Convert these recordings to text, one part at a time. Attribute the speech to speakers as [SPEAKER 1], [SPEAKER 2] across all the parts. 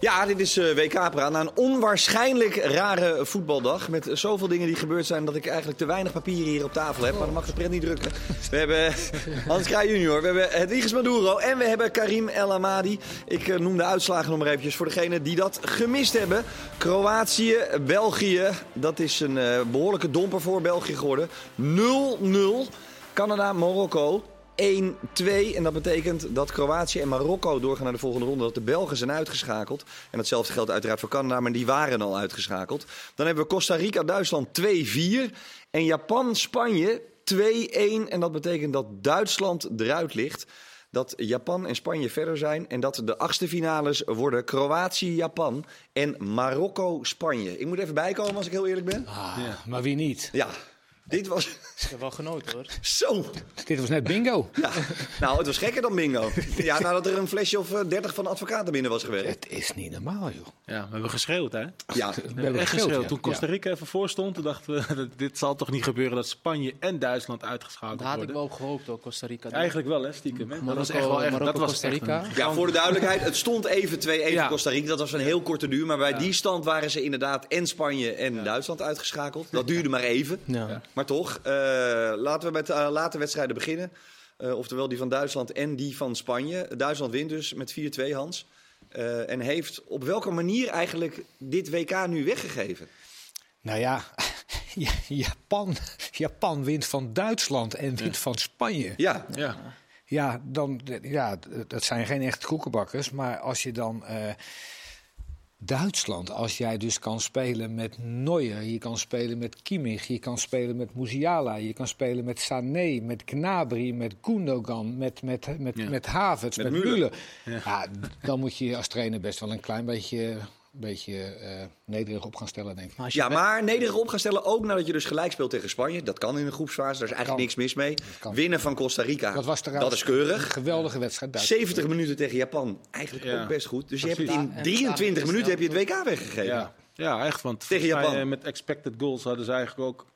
[SPEAKER 1] Ja, dit is eh, WK Pra. Na een onwaarschijnlijk rare voetbaldag. Met zoveel dingen die gebeurd zijn dat ik eigenlijk te weinig papieren hier op tafel heb. Maar dan mag de pret niet drukken. We hebben eh, Hans Kraaij junior, we hebben Hedwiges Maduro en we hebben Karim El Amadi. Ik eh, noem de uitslagen nog maar eventjes voor degenen die dat gemist hebben. Kroatië, België. Dat is een eh, behoorlijke domper voor België geworden. 0-0. Canada, Marokko. 1-2. En dat betekent dat Kroatië en Marokko doorgaan naar de volgende ronde. Dat de Belgen zijn uitgeschakeld. En datzelfde geldt uiteraard voor Canada, maar die waren al uitgeschakeld. Dan hebben we Costa Rica, Duitsland 2-4. En Japan, Spanje 2-1. En dat betekent dat Duitsland eruit ligt. Dat Japan en Spanje verder zijn. En dat de achtste finales worden Kroatië, Japan en Marokko, Spanje. Ik moet even bijkomen als ik heel eerlijk ben.
[SPEAKER 2] Ah, Maar wie niet?
[SPEAKER 1] Ja, dit was
[SPEAKER 3] Ik heb wel genoten hoor.
[SPEAKER 1] zo
[SPEAKER 2] Dit was net bingo.
[SPEAKER 1] Ja, nou, het was gekker dan bingo. Ja, nadat er een flesje of eh, dertig van de advocaten binnen was geweest.
[SPEAKER 2] Het is niet normaal, joh.
[SPEAKER 3] Ja, we hebben geschreeuwd hè.
[SPEAKER 1] Ja,
[SPEAKER 3] We hebben
[SPEAKER 2] Geld,
[SPEAKER 3] echt geschreeuwd.
[SPEAKER 2] ja.
[SPEAKER 3] Toen Costa Rica even voor stond, toen dachten we, dat dit zal toch niet gebeuren dat Spanje en Duitsland uitgeschakeld
[SPEAKER 4] Daar had ik
[SPEAKER 3] worden.
[SPEAKER 4] wel op gehoopt hoor, Costa Rica.
[SPEAKER 3] Eigenlijk wel hè, stiekem. Hè? dat was
[SPEAKER 4] Marokko-
[SPEAKER 3] echt wel echt, dat
[SPEAKER 4] Marokko,
[SPEAKER 3] was
[SPEAKER 4] Costa
[SPEAKER 3] echt
[SPEAKER 4] Rica.
[SPEAKER 3] een-
[SPEAKER 1] ja, voor de duidelijkheid, het stond even 2-1
[SPEAKER 3] Ja.
[SPEAKER 1] voor Costa Rica. Dat was een heel korte duur. Maar bij die stand waren ze inderdaad en Spanje en Duitsland uitgeschakeld. Dat duurde maar even.
[SPEAKER 4] Ja.
[SPEAKER 1] Maar toch, eh, laten we met de eh, late wedstrijden beginnen. Eh, oftewel die van Duitsland en die van Spanje. Duitsland wint dus met 4-2, Hans. Eh, en heeft op welke manier eigenlijk dit WK nu weggegeven?
[SPEAKER 2] Nou ja, Ja, Japan, Japan wint van Duitsland en wint van Spanje.
[SPEAKER 1] Ja,
[SPEAKER 3] Ja.
[SPEAKER 2] Ja, dan, ja, dat zijn geen echt koekenbakkers. Maar als je dan. eh, Duitsland, als jij dus kan spelen met Neuer, je kan spelen met Kimmich, je kan spelen met Musiala, je kan spelen met Sané, met Gnabry, met Gundogan, met, met, met,
[SPEAKER 3] Ja.
[SPEAKER 2] met Havertz,
[SPEAKER 1] Met
[SPEAKER 2] met,
[SPEAKER 1] Müller.
[SPEAKER 2] Müller. Ja. dan moet je als trainer best wel een klein beetje, beetje eh, nederig op gaan stellen, denk ik.
[SPEAKER 4] Maar als je
[SPEAKER 1] Ja, maar nederig op gaan stellen, ook nadat je dus gelijk speelt tegen Spanje. Dat kan in een groepsfase, daar is eigenlijk
[SPEAKER 2] kan.
[SPEAKER 1] niks mis mee.
[SPEAKER 2] kan.
[SPEAKER 1] Winnen van Costa Rica,
[SPEAKER 2] Dat was trouwens
[SPEAKER 1] dat is
[SPEAKER 2] een
[SPEAKER 1] keurig.
[SPEAKER 2] geweldige wedstrijd. Duitsland.
[SPEAKER 1] 70 minuten tegen Japan, eigenlijk
[SPEAKER 3] Ja.
[SPEAKER 1] ook best goed. Dus je hebt
[SPEAKER 3] Precies.
[SPEAKER 1] het in
[SPEAKER 4] Ja, en
[SPEAKER 1] 23
[SPEAKER 4] daar-
[SPEAKER 1] minuten heb je het WK weggegeven.
[SPEAKER 3] Ja. ja, echt. Want
[SPEAKER 1] Tegen
[SPEAKER 3] volgens mij,
[SPEAKER 1] Japan.
[SPEAKER 3] eh, met expected goals hadden ze eigenlijk ook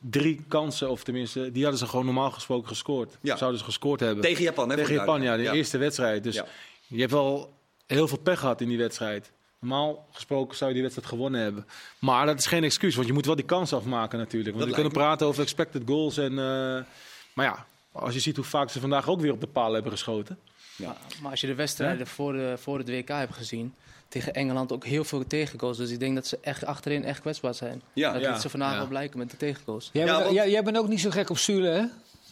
[SPEAKER 3] drie kansen, of tenminste, die hadden ze gewoon normaal gesproken gescoord.
[SPEAKER 1] Ja.
[SPEAKER 3] Zouden ze gescoord hebben.
[SPEAKER 1] Tegen Japan, hè?
[SPEAKER 3] Tegen
[SPEAKER 1] voor de
[SPEAKER 3] Japan, ja, de
[SPEAKER 1] duidelijkheid.
[SPEAKER 3] eerste wedstrijd. Dus
[SPEAKER 1] Ja.
[SPEAKER 3] je hebt wel heel veel pech gehad in die wedstrijd. Normaal gesproken zou je die wedstrijd gewonnen hebben. Maar dat is geen excuus, want je moet wel die kans afmaken natuurlijk. Want
[SPEAKER 1] Dat
[SPEAKER 3] we kunnen
[SPEAKER 1] lijkt
[SPEAKER 3] praten over expected goals en... eh, maar ja, als je ziet hoe vaak ze vandaag ook weer op de paal hebben geschoten.
[SPEAKER 4] Maar, maar als je de wedstrijden voor, de, voor het WK hebt gezien, tegen Engeland ook heel veel tegengoals. Dus ik denk dat ze echt achterin echt kwetsbaar zijn.
[SPEAKER 1] Ja,
[SPEAKER 4] dat
[SPEAKER 3] ja,
[SPEAKER 4] liet ze vandaag
[SPEAKER 3] ja.
[SPEAKER 4] wel blijken met de tegengoals.
[SPEAKER 2] Jij,
[SPEAKER 1] Ja,
[SPEAKER 2] bent,
[SPEAKER 1] want-
[SPEAKER 2] jij, jij bent ook niet zo gek op Zule, hè?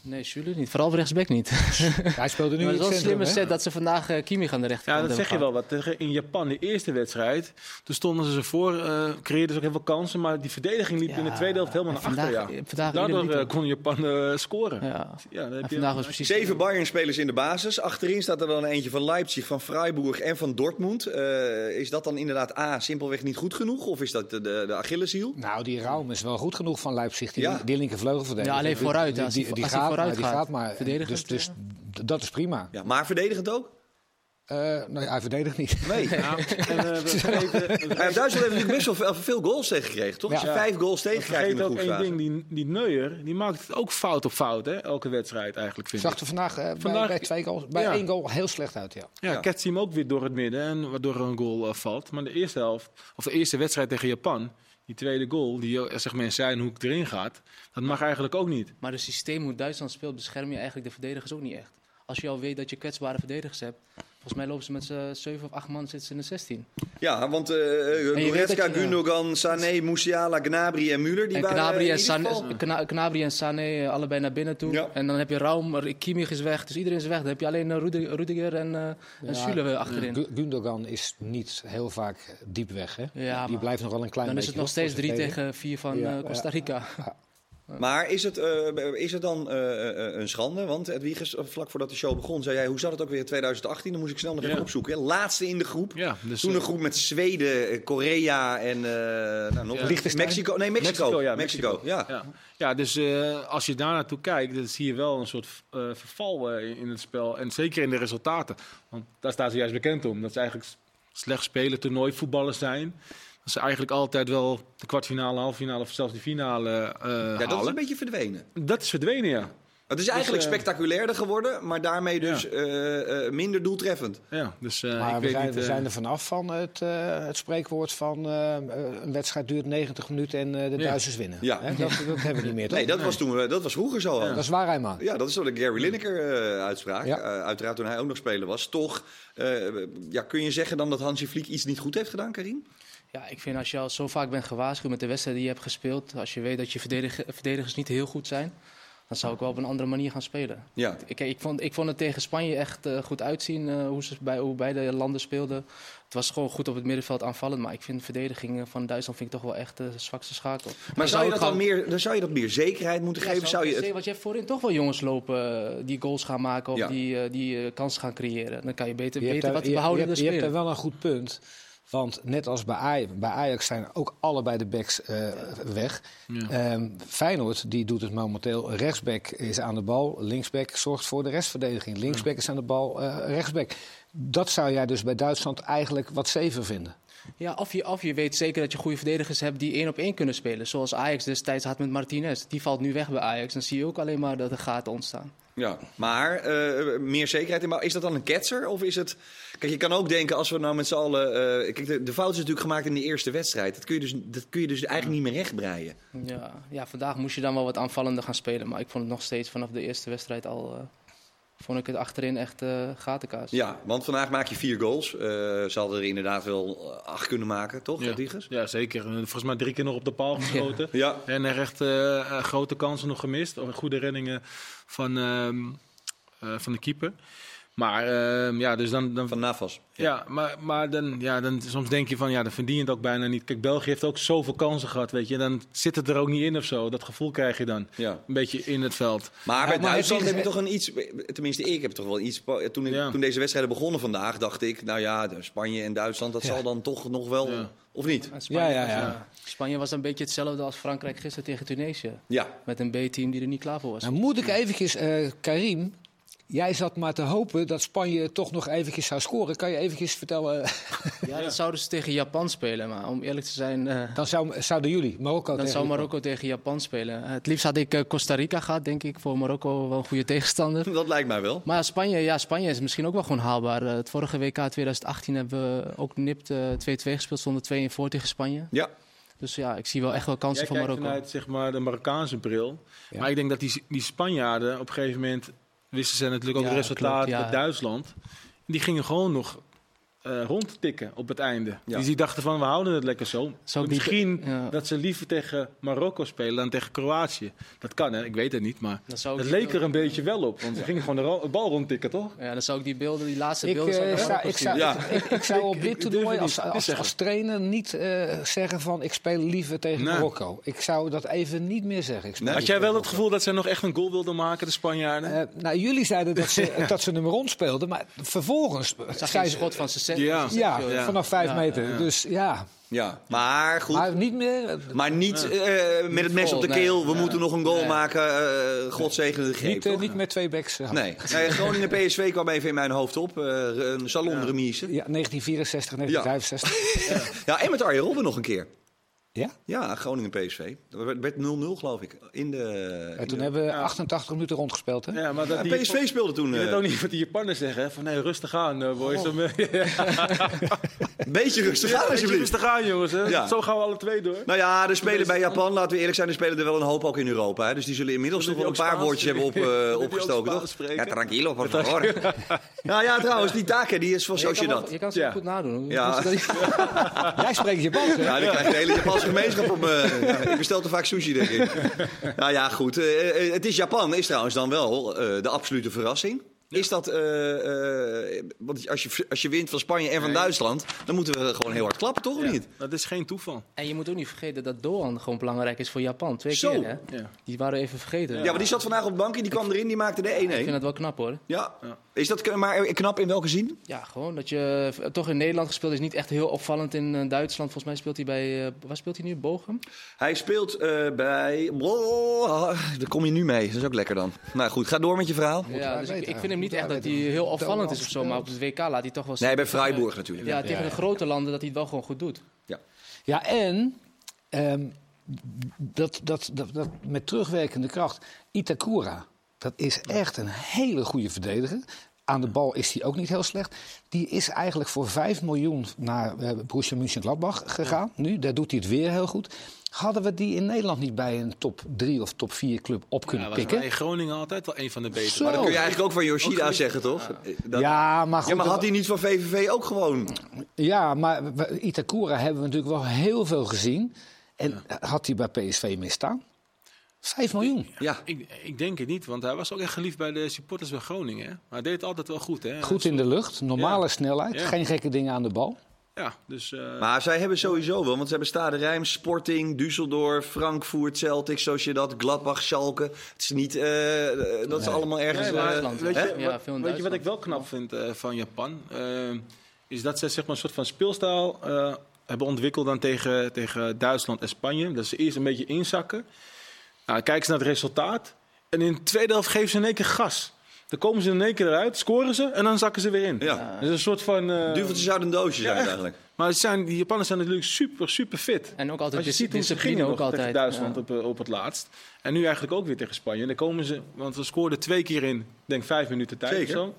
[SPEAKER 4] Nee, Jules niet. Vooral op rechtsback niet.
[SPEAKER 2] Hij speelde nu
[SPEAKER 4] maar
[SPEAKER 2] in
[SPEAKER 4] het is
[SPEAKER 2] het
[SPEAKER 4] wel een
[SPEAKER 2] centrum,
[SPEAKER 4] slimme
[SPEAKER 2] hè?
[SPEAKER 4] set dat ze vandaag eh, Kimi gaan de rechterkant
[SPEAKER 3] Ja, dat
[SPEAKER 4] hebben
[SPEAKER 3] zeg je wel
[SPEAKER 4] gehaald.
[SPEAKER 3] wat. Tegen- In Japan, de eerste wedstrijd, toen stonden ze voor, eh creëerden ze ook heel veel kansen. Maar die verdediging liep in de
[SPEAKER 4] Ja,
[SPEAKER 3] tweede helft helemaal naar
[SPEAKER 4] en vandaag-
[SPEAKER 3] achter. Ja.
[SPEAKER 4] vandaag
[SPEAKER 3] Daardoor
[SPEAKER 4] ieder
[SPEAKER 3] eh, kon Japan eh, scoren. Ja.
[SPEAKER 4] Ja.
[SPEAKER 3] dan heb
[SPEAKER 4] En
[SPEAKER 3] je-
[SPEAKER 4] vandaag was precies...
[SPEAKER 1] Zeven Bayern-spelers in de basis. Achterin staat er dan eentje van Leipzig, van Freiburg en van Dortmund. Eh, is dat dan inderdaad A, simpelweg niet goed genoeg? Of is dat de, de, de Achilleshiel?
[SPEAKER 2] Nou, die Raum is wel goed genoeg van Leipzig, die,
[SPEAKER 1] Ja.
[SPEAKER 2] die linkervleugelverdediger.
[SPEAKER 4] Ja, alleen
[SPEAKER 2] Die-
[SPEAKER 4] vooruit, als
[SPEAKER 2] die,
[SPEAKER 4] hij-
[SPEAKER 2] die
[SPEAKER 4] als hij
[SPEAKER 2] gaat,
[SPEAKER 4] vooruit
[SPEAKER 2] maar, die
[SPEAKER 4] gaat.
[SPEAKER 2] gaat maar.
[SPEAKER 4] Verdedigend,
[SPEAKER 2] Dus, dus d- dat is prima.
[SPEAKER 1] Ja, maar verdedigend ook?
[SPEAKER 2] Eh nou, ja, hij verdedigt niet.
[SPEAKER 1] Nee.
[SPEAKER 3] Ja, en, eh, we vergeten- we
[SPEAKER 1] Ja, Duitsland heeft natuurlijk best wel veel- veel goals tegenkrijgen, toch?
[SPEAKER 2] Ja.
[SPEAKER 1] Als je vijf goals tegenkrijgt in
[SPEAKER 3] vergeten
[SPEAKER 1] de
[SPEAKER 3] ook één
[SPEAKER 1] groepsfase.
[SPEAKER 3] ding. Die, die Neuer, die maakt het ook fout op fout. Hè? Elke wedstrijd eigenlijk, vind
[SPEAKER 2] Zag
[SPEAKER 3] ik.
[SPEAKER 2] er vandaag, eh, bij-
[SPEAKER 3] Vandaag-
[SPEAKER 2] bij, twee goals, bij
[SPEAKER 3] Ja.
[SPEAKER 2] één goal heel slecht uit. Ja.
[SPEAKER 3] Ja,
[SPEAKER 1] Ja.
[SPEAKER 3] ketst hij hem ook weer door het midden. En waardoor er een goal eh, valt. Maar de eerste helft, of de eerste wedstrijd tegen Japan... Die tweede goal, die eh, zeg maar in zijn hoek erin gaat, dat mag eigenlijk ook niet.
[SPEAKER 4] Maar het systeem hoe Duitsland speelt, bescherm je eigenlijk de verdedigers ook niet echt. Als je al weet dat je kwetsbare verdedigers hebt, volgens mij lopen ze met z'n zeven of acht man zitten ze in de 16.
[SPEAKER 1] Ja, want eh
[SPEAKER 4] weet
[SPEAKER 1] Goretzka,
[SPEAKER 4] dat je-
[SPEAKER 1] Gundogan, Sané, Musiala, Gnabry en Müller... Die
[SPEAKER 4] En
[SPEAKER 1] waren eh,
[SPEAKER 4] Knabri
[SPEAKER 1] in
[SPEAKER 4] en,
[SPEAKER 1] ieder geval-
[SPEAKER 4] Sané, Kna- Gnabry en Sané eh, allebei naar binnen toe.
[SPEAKER 1] Ja.
[SPEAKER 4] En dan heb je Raum, Kimmich is weg, dus iedereen is weg. Dan heb je alleen eh, Rudig- Rudiger en, eh en
[SPEAKER 2] Ja,
[SPEAKER 4] Süle weer achterin.
[SPEAKER 2] Gu- Gundogan is niet heel vaak diep weg. Hè?
[SPEAKER 4] Ja,
[SPEAKER 2] die
[SPEAKER 4] maar-
[SPEAKER 2] blijft nog wel een klein
[SPEAKER 4] Dan is
[SPEAKER 2] beetje.
[SPEAKER 4] het nog steeds drie
[SPEAKER 2] drie
[SPEAKER 4] tegen vier van
[SPEAKER 2] Ja,
[SPEAKER 4] eh,
[SPEAKER 2] ja.
[SPEAKER 4] Costa Rica.
[SPEAKER 1] Maar is het, eh, is het dan eh, eh, een schande? Want Edwiges, eh, vlak voordat de show begon, zei jij... hoe zat het ook weer in 2018? Dan moest ik snel nog even
[SPEAKER 3] Ja.
[SPEAKER 1] opzoeken. hè. Laatste in de groep.
[SPEAKER 3] Ja, dus,
[SPEAKER 1] Toen
[SPEAKER 3] eh,
[SPEAKER 1] een groep met Zweden, eh, Korea en eh, nou, nog
[SPEAKER 3] Ja.
[SPEAKER 2] Liechtenstein?
[SPEAKER 1] Mexico. Nee, Mexico.
[SPEAKER 3] Mexico, ja,
[SPEAKER 1] Mexico, ja.
[SPEAKER 3] Ja, ja dus eh, als je daar naartoe kijkt, dan zie je wel een soort eh, verval eh, in het spel. En zeker in de resultaten. Want daar staan ze juist bekend om. Dat ze eigenlijk s- slecht spelen, toernooivoetballers zijn. Dat ze eigenlijk altijd wel de kwartfinale, halffinale of zelfs de finale eh,
[SPEAKER 1] Ja, dat is
[SPEAKER 3] halen.
[SPEAKER 1] een beetje verdwenen.
[SPEAKER 3] Dat is verdwenen, ja.
[SPEAKER 1] Het is eigenlijk
[SPEAKER 3] eh,
[SPEAKER 1] spectaculairder geworden, maar daarmee dus
[SPEAKER 3] Ja.
[SPEAKER 1] eh, eh, minder doeltreffend.
[SPEAKER 3] Ja, dus eh,
[SPEAKER 2] maar
[SPEAKER 3] ik
[SPEAKER 2] we
[SPEAKER 3] weet
[SPEAKER 2] zijn,
[SPEAKER 3] niet...
[SPEAKER 2] we
[SPEAKER 3] eh,
[SPEAKER 2] zijn er vanaf van het, eh, het spreekwoord van eh, een wedstrijd duurt 90 minuten en eh, de
[SPEAKER 3] Ja.
[SPEAKER 2] Duitsers winnen.
[SPEAKER 1] Ja.
[SPEAKER 2] Hè, dat, dat hebben we niet meer. Toch?
[SPEAKER 1] Nee, dat was, toen, we- dat was vroeger zo. al.
[SPEAKER 2] Dat is waar, Rijman.
[SPEAKER 1] Ja, dat is wel de Gary Lineker-uitspraak.
[SPEAKER 2] Ja.
[SPEAKER 1] Eh, uiteraard toen hij ook nog speler was. Toch, eh, ja, kun je zeggen dan dat Hansi Vliek iets niet goed heeft gedaan, Karim?
[SPEAKER 4] Ja, ik vind als je al zo vaak bent gewaarschuwd met de wedstrijden die je hebt gespeeld, als je weet dat je verdedig- verdedigers niet heel goed zijn, dan zou ik wel op een andere manier gaan spelen.
[SPEAKER 1] Ja,
[SPEAKER 4] Ik, ik, vond, ik vond het tegen Spanje echt eh, goed uitzien eh, hoe ze bij, hoe beide landen speelden. Het was gewoon goed op het middenveld aanvallend, maar ik vind de verdediging eh, van Duitsland vind ik toch wel echt eh, de zwakste schakel.
[SPEAKER 1] maar zou je, dat dan
[SPEAKER 4] gewoon-
[SPEAKER 1] meer, dan zou je dat meer zekerheid moeten
[SPEAKER 4] Ja,
[SPEAKER 1] geven? Zou je het...
[SPEAKER 4] Want je hebt voorin toch wel jongens lopen eh, die goals gaan maken of
[SPEAKER 1] Ja.
[SPEAKER 4] die, eh, die eh, kansen gaan creëren. Dan kan je beter
[SPEAKER 2] Je hebt
[SPEAKER 4] weten
[SPEAKER 2] daar-
[SPEAKER 4] wat de
[SPEAKER 2] je-
[SPEAKER 4] behoudende
[SPEAKER 2] je, hebt- je hebt
[SPEAKER 4] spelen.
[SPEAKER 2] daar wel een goed punt. Want net als bij Ajax, bij Ajax zijn ook allebei de backs eh, weg.
[SPEAKER 3] Ja.
[SPEAKER 2] Ehm, Feyenoord die doet het momenteel. Rechtsback is aan de bal. Linksback zorgt voor de restverdediging. Linksback is aan de bal. eh, rechtsback. Dat zou jij dus bij Duitsland eigenlijk wat zeven vinden.
[SPEAKER 4] Ja, of je, of je weet zeker dat je goede verdedigers hebt die één op één kunnen spelen. Zoals Ajax destijds had met Martinez. Die valt nu weg bij Ajax. Dan zie je ook alleen maar dat er gaten ontstaan.
[SPEAKER 1] Ja, maar eh, meer zekerheid. in- Maar is dat dan een ketser? Of is het... Kijk, je kan ook denken als we nou met z'n allen... eh, kijk, de, de fout is natuurlijk gemaakt in de eerste wedstrijd. Dat kun je dus, dat kun je dus eigenlijk niet meer rechtbreien.
[SPEAKER 4] Ja, ja, vandaag moest je dan wel wat aanvallender gaan spelen. Maar ik vond het nog steeds vanaf de eerste wedstrijd al... eh, vond ik het achterin echt eh, gatenkaas.
[SPEAKER 1] Ja, want vandaag maak je vier goals. Eh, ze hadden er inderdaad wel eh, acht kunnen maken, toch,
[SPEAKER 3] ja.
[SPEAKER 1] Rodriguez?
[SPEAKER 3] ja, zeker. Eh, Volgens mij drie keer nog op de paal geschoten.
[SPEAKER 1] Ja.
[SPEAKER 3] En er echt eh, eh, grote kansen nog gemist. Of goede reddingen van, ehm, eh, van de keeper. Maar ehm, ja, dus dan, dan,
[SPEAKER 1] Van Navas.
[SPEAKER 3] Ja, maar, maar dan, ja, dan soms denk je van, ja, dan verdien je het ook bijna niet. Kijk, België heeft ook zoveel kansen gehad, weet je. En dan zit het er ook niet in of zo. Dat gevoel krijg je dan.
[SPEAKER 1] Ja.
[SPEAKER 3] Een beetje in het veld.
[SPEAKER 1] Maar bij
[SPEAKER 2] maar
[SPEAKER 1] Duitsland
[SPEAKER 2] het
[SPEAKER 1] heb
[SPEAKER 2] is-
[SPEAKER 1] je toch een iets... Tenminste, ik heb toch wel iets... Toen, ik-
[SPEAKER 3] Ja.
[SPEAKER 1] toen deze wedstrijden begonnen vandaag, dacht ik... Nou ja, de Spanje en Duitsland, dat zal dan toch nog wel...
[SPEAKER 3] Ja.
[SPEAKER 1] Of niet?
[SPEAKER 4] En Spanje,
[SPEAKER 2] Ja, ja,
[SPEAKER 4] was,
[SPEAKER 2] ja.
[SPEAKER 4] eh, Spanje was een beetje hetzelfde als Frankrijk gisteren tegen Tunesië.
[SPEAKER 1] Ja.
[SPEAKER 4] Met een B-team die er niet klaar voor was.
[SPEAKER 2] Dan moet ik eventjes, eh, Karim... Jij zat maar te hopen dat Spanje toch nog eventjes zou scoren. Kan je eventjes vertellen? eh,
[SPEAKER 4] Ja, dat zouden ze tegen Japan spelen. Maar om eerlijk te zijn... eh,
[SPEAKER 2] Dan zou, zouden jullie, Marokko
[SPEAKER 4] Dan
[SPEAKER 2] tegen
[SPEAKER 4] zou
[SPEAKER 2] Japan.
[SPEAKER 4] Marokko tegen Japan spelen. Het liefst had ik eh, Costa Rica gehad, denk ik. Voor Marokko wel een goede tegenstander.
[SPEAKER 1] Dat lijkt mij wel.
[SPEAKER 4] Maar Spanje, ja, Spanje is misschien ook wel gewoon haalbaar. Eh, Het vorige WK 2018 hebben we ook nipt eh, 2-2 gespeeld. Stonden 2 in voor tegen Spanje.
[SPEAKER 1] Ja.
[SPEAKER 4] Dus ja, ik zie wel echt wel
[SPEAKER 3] Jij
[SPEAKER 4] kansen voor
[SPEAKER 3] kijkt
[SPEAKER 4] Marokko.
[SPEAKER 3] vanuit, zeg maar, de Marokkaanse bril.
[SPEAKER 2] Ja.
[SPEAKER 3] Maar ik denk dat die, die Spanjaarden op een gegeven moment... wisten ze natuurlijk ook
[SPEAKER 4] Ja,
[SPEAKER 3] het resultaat
[SPEAKER 4] klopt, ja.
[SPEAKER 3] met Duitsland. Die gingen gewoon nog eh, rondtikken op het einde.
[SPEAKER 1] Ja.
[SPEAKER 3] Dus die dachten van, we houden het lekker zo.
[SPEAKER 4] Zou ik niet-
[SPEAKER 3] Misschien
[SPEAKER 4] ja.
[SPEAKER 3] dat ze liever tegen Marokko spelen dan tegen Kroatië. Dat kan, hè. Ik weet het niet, maar...
[SPEAKER 4] Dan zou ik
[SPEAKER 3] Het
[SPEAKER 4] die
[SPEAKER 3] leek er een beetje wel op, want ze gingen gewoon de ro- de bal rondtikken, toch?
[SPEAKER 4] beelden- Ja, dan zou ik die beelden, die laatste
[SPEAKER 2] Ik,
[SPEAKER 4] beelden... zou
[SPEAKER 2] eh,
[SPEAKER 4] ik
[SPEAKER 2] zou,
[SPEAKER 4] Marokko
[SPEAKER 2] ik, zou,
[SPEAKER 1] Ja.
[SPEAKER 2] ik, ik zou op dit
[SPEAKER 3] durf
[SPEAKER 2] toernooi
[SPEAKER 3] het
[SPEAKER 2] als,
[SPEAKER 3] niet
[SPEAKER 2] als,
[SPEAKER 3] zeggen.
[SPEAKER 2] als trainer niet eh, zeggen van ik speel liever tegen
[SPEAKER 3] Nee.
[SPEAKER 2] Marokko. Ik zou dat even niet meer zeggen. Ik speel
[SPEAKER 1] Nee.
[SPEAKER 3] Had
[SPEAKER 2] liever
[SPEAKER 3] jij wel het
[SPEAKER 2] tegen
[SPEAKER 3] gevoel dat zij nog echt een goal wilden maken, de Spanjaarden?
[SPEAKER 2] Marokko. Eh, nou, jullie zeiden dat ze, dat ze nummer rond speelden, maar vervolgens
[SPEAKER 4] zien. zag
[SPEAKER 2] zei
[SPEAKER 4] je
[SPEAKER 2] ze-
[SPEAKER 4] een schot van zijn cent.
[SPEAKER 3] Ja.
[SPEAKER 2] ja,
[SPEAKER 3] Ja.
[SPEAKER 2] vanaf vijf
[SPEAKER 4] Ja,
[SPEAKER 2] meter. Dus ja,
[SPEAKER 1] Ja. Maar goed.
[SPEAKER 2] maar niet meer. eh,
[SPEAKER 1] Maar niet eh, met het mes op de
[SPEAKER 4] vol, nee.
[SPEAKER 1] keel. We
[SPEAKER 4] Nee.
[SPEAKER 1] moeten nog een goal
[SPEAKER 4] Nee.
[SPEAKER 1] maken. eh God zegene de greep.
[SPEAKER 2] Niet, eh,
[SPEAKER 1] toch?
[SPEAKER 2] niet met twee backs. eh,
[SPEAKER 1] Nee. nee. Groningen PSV kwam even in mijn hoofd op. eh, een salonremise. Ja.
[SPEAKER 2] Ja, 1964, 1965.
[SPEAKER 1] en met Arjen Robben nog een keer.
[SPEAKER 2] Ja?
[SPEAKER 1] Ja, Groningen PSV. Het werd 0-0 geloof ik. In de,
[SPEAKER 2] En
[SPEAKER 1] in de-
[SPEAKER 2] Eh, toen hebben we 88 minuten rondgespeeld. Hè?
[SPEAKER 3] Ja, maar dat
[SPEAKER 1] Ja,
[SPEAKER 3] die
[SPEAKER 1] PSV speelde toen.
[SPEAKER 3] Je
[SPEAKER 1] eh,
[SPEAKER 3] weet ook niet wat die Japanners zeggen, hè, van nee, rustig aan, eh, boys. Dan, eh,
[SPEAKER 1] Een beetje rustig aan alsjeblieft.
[SPEAKER 3] rustig aan, jongens. Hè.
[SPEAKER 1] Ja.
[SPEAKER 3] Zo gaan we alle twee door.
[SPEAKER 1] Nou ja, er spelen bij Japan, laten we eerlijk zijn, er spelen er wel een hoop ook in Europa. Hè? Dus die zullen inmiddels nog
[SPEAKER 3] Zullen
[SPEAKER 1] wel een
[SPEAKER 3] die
[SPEAKER 1] paar
[SPEAKER 3] ook
[SPEAKER 1] woordjes hebben op,
[SPEAKER 3] Spaans-
[SPEAKER 1] eh,
[SPEAKER 3] Zullen die ook
[SPEAKER 1] opgestoken,
[SPEAKER 3] Spaans
[SPEAKER 1] toch?
[SPEAKER 3] spreken?
[SPEAKER 1] Ja, tranquilo, por favor. nou ja, trouwens, die taken, die is van
[SPEAKER 4] Je kan, wel-
[SPEAKER 1] Sociedad.
[SPEAKER 4] je kan ze
[SPEAKER 3] Ja.
[SPEAKER 4] goed nadoen. hoor.
[SPEAKER 1] Ja.
[SPEAKER 4] Dus dat-
[SPEAKER 2] Jij spreekt Japans. hè?
[SPEAKER 1] Ja, dan krijgt de hele Japanse gemeenschap op eh, me. Ik bestel te vaak sushi, denk ik. Nou ja, goed. eh, eh, het is Japan, is trouwens dan wel eh, de absolute verrassing. Is dat, eh, eh, want als je, als je wint van Spanje en van Duitsland, dan moeten we gewoon heel hard klappen, toch? Of
[SPEAKER 3] Ja,
[SPEAKER 1] niet?
[SPEAKER 3] Dat is geen toeval.
[SPEAKER 4] En je moet ook niet vergeten dat Doan gewoon belangrijk is voor Japan. Twee
[SPEAKER 1] Zo.
[SPEAKER 4] keer, hè?
[SPEAKER 3] Ja.
[SPEAKER 4] Die waren we even vergeten.
[SPEAKER 1] Ja, maar die zat vandaag op de bank en die kwam erin, die maakte
[SPEAKER 4] Ik vind
[SPEAKER 1] de 1-1.
[SPEAKER 4] dat wel knap, hoor.
[SPEAKER 1] Ja, is dat k- maar knap in welke zin?
[SPEAKER 4] Ja, gewoon dat je eh, toch in Nederland gespeeld is. Niet echt heel opvallend in eh, Duitsland. Volgens mij speelt hij bij. eh, waar speelt hij nu? Bochum?
[SPEAKER 1] Hij speelt eh, bij. Bro, ah, daar kom je nu mee. Dat is ook lekker dan. Nou goed, ga door met je verhaal.
[SPEAKER 4] Ja,
[SPEAKER 2] wij
[SPEAKER 4] dus ik,
[SPEAKER 2] weten,
[SPEAKER 4] ik vind hem niet
[SPEAKER 2] moeten
[SPEAKER 4] echt
[SPEAKER 2] wij
[SPEAKER 4] dat hij
[SPEAKER 2] weten.
[SPEAKER 4] heel
[SPEAKER 2] Moet
[SPEAKER 4] opvallend
[SPEAKER 2] wel
[SPEAKER 4] is of zo. Maar op het WK laat hij toch wel.
[SPEAKER 1] Nee,
[SPEAKER 4] zien-
[SPEAKER 1] bij Freiburg natuurlijk.
[SPEAKER 4] Ja, tegen
[SPEAKER 2] ja.
[SPEAKER 4] de grote landen dat hij het wel gewoon goed doet.
[SPEAKER 2] Ja, en ehm, dat, dat, dat, dat met terugwerkende kracht. Itakura, dat is echt een hele goede verdediger. Aan de bal is hij ook niet heel slecht. Die is eigenlijk voor 5 miljoen naar eh, Borussia Mönchengladbach gegaan. Nu, daar doet hij het weer heel goed. Hadden we die in Nederland niet bij een top 3 of top 4 club op kunnen
[SPEAKER 3] was
[SPEAKER 2] pikken?
[SPEAKER 3] bij Groningen altijd wel een van de betere.
[SPEAKER 2] Zo.
[SPEAKER 3] Maar
[SPEAKER 1] Maar dat
[SPEAKER 3] dat-
[SPEAKER 1] kun je eigenlijk ook van Yoshida zeggen, toch? Dat-
[SPEAKER 2] Ja, maar goed.
[SPEAKER 1] Ja, maar
[SPEAKER 2] dat-
[SPEAKER 1] had hij niet van VVV ook gewoon?
[SPEAKER 2] Ja, maar we- Itakura hebben we natuurlijk wel heel veel gezien. En had hij bij PSV misstaan? Vijf miljoen.
[SPEAKER 1] Ja.
[SPEAKER 3] Ik, ik denk het niet, want hij was ook echt geliefd bij de supporters bij Groningen. hè. Maar hij deed het altijd wel goed, hè?
[SPEAKER 2] Goed in de lucht, normale
[SPEAKER 3] Ja.
[SPEAKER 2] snelheid,
[SPEAKER 3] Ja.
[SPEAKER 2] geen gekke dingen aan de bal.
[SPEAKER 3] Ja, dus... eh,
[SPEAKER 1] Maar zij hebben sowieso wel, want ze hebben Stade Rijm, Sporting, Düsseldorf, Frankfurt, Celtic, Sociedad, Gladbach, Schalke. Het is niet eh, eh, dat ze allemaal ergens...
[SPEAKER 3] Nee,
[SPEAKER 1] eh,
[SPEAKER 3] maar
[SPEAKER 4] Duitsland.
[SPEAKER 3] weet,
[SPEAKER 1] hè?
[SPEAKER 3] je,
[SPEAKER 4] Ja,
[SPEAKER 3] wat,
[SPEAKER 4] veel in
[SPEAKER 3] weet je wat ik
[SPEAKER 4] Duitsland.
[SPEAKER 3] wel knap vind eh, van Japan? Ehm, is dat ze zeg maar, een soort van speelstijl eh, hebben ontwikkeld dan tegen, tegen Duitsland en Spanje. Dat ze eerst een beetje inzakken. Nou, kijken ze naar het resultaat. En in de tweede helft geven ze in één keer gas. Dan komen ze in één keer eruit, scoren ze en dan zakken ze weer in.
[SPEAKER 1] Ja.
[SPEAKER 3] Dus een soort van... eh,
[SPEAKER 1] Duveltjes uit een doosje zijn het
[SPEAKER 3] echt.
[SPEAKER 1] eigenlijk.
[SPEAKER 3] maar het zijn, die Japanners zijn natuurlijk super, super fit.
[SPEAKER 4] En ook altijd
[SPEAKER 3] Want je
[SPEAKER 4] dis-
[SPEAKER 3] ziet hoe ze
[SPEAKER 4] discipline
[SPEAKER 3] gingen
[SPEAKER 4] ook
[SPEAKER 3] nog tegen
[SPEAKER 4] altijd.
[SPEAKER 3] Duitsland
[SPEAKER 4] ja.
[SPEAKER 3] op, eh, op het laatst. En nu eigenlijk ook weer tegen Spanje. En dan komen ze, want we scoorden twee keer in, ik denk vijf minuten tijd
[SPEAKER 1] Zeker.
[SPEAKER 3] of zo.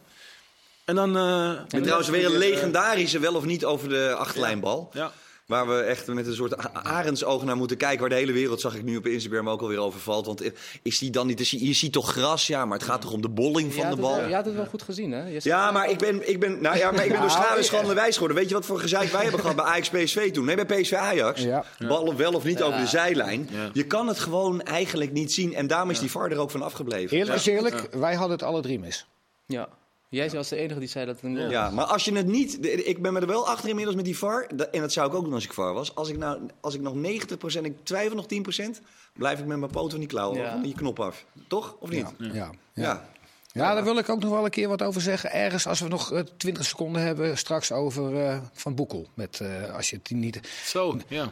[SPEAKER 3] En dan... eh,
[SPEAKER 1] En
[SPEAKER 3] dan
[SPEAKER 1] trouwens weer een
[SPEAKER 3] eh,
[SPEAKER 1] legendarische, wel of niet, over de achterlijnbal.
[SPEAKER 3] Ja,
[SPEAKER 1] Waar we echt met een soort a- arendsoog naar moeten kijken. Waar de hele wereld, zag ik nu op Instagram, ook alweer over valt. Want eh, is die dan niet... te zien? Je ziet toch gras, ja, maar het gaat toch om de bolling van
[SPEAKER 4] Ja,
[SPEAKER 1] de
[SPEAKER 4] dat
[SPEAKER 1] bal?
[SPEAKER 4] wel- Ja, dat wel goed gezien, hè? Je
[SPEAKER 1] Ja, maar ik ben, ik ben, nou ja, maar ik ben door schade en schande wijs geworden. Weet je wat voor gezeik wij hebben gehad bij Ajax PSV toen? Nee, bij PSV Ajax.
[SPEAKER 2] Ja.
[SPEAKER 1] Ballen wel of niet over de zijlijn.
[SPEAKER 3] Ja.
[SPEAKER 1] Je kan het gewoon eigenlijk niet zien. En daarom is die VAR er ook van afgebleven.
[SPEAKER 2] Eerlijk is eerlijk, wij hadden het alle drie mis.
[SPEAKER 4] Ja. Jij was de enige die zei dat het een goal
[SPEAKER 1] Ja, maar als je het niet... de- Ik ben me er wel achter inmiddels met die VAR. dat- En dat zou ik ook doen als ik VAR was. Als ik, nou, als ik nog 90%, ik twijfel nog 10%, blijf ik met mijn poten van die klauwen,
[SPEAKER 4] Ja.
[SPEAKER 1] van die knop af. Toch? Of niet?
[SPEAKER 2] Ja, ja. ja.
[SPEAKER 1] Ja.
[SPEAKER 2] Ja, daar wil ik ook nog wel een keer wat over zeggen. Ergens, als we nog eh, 20 seconden hebben, straks over eh, Van Boekel. Met, eh, als je het niet...
[SPEAKER 3] zo, ja.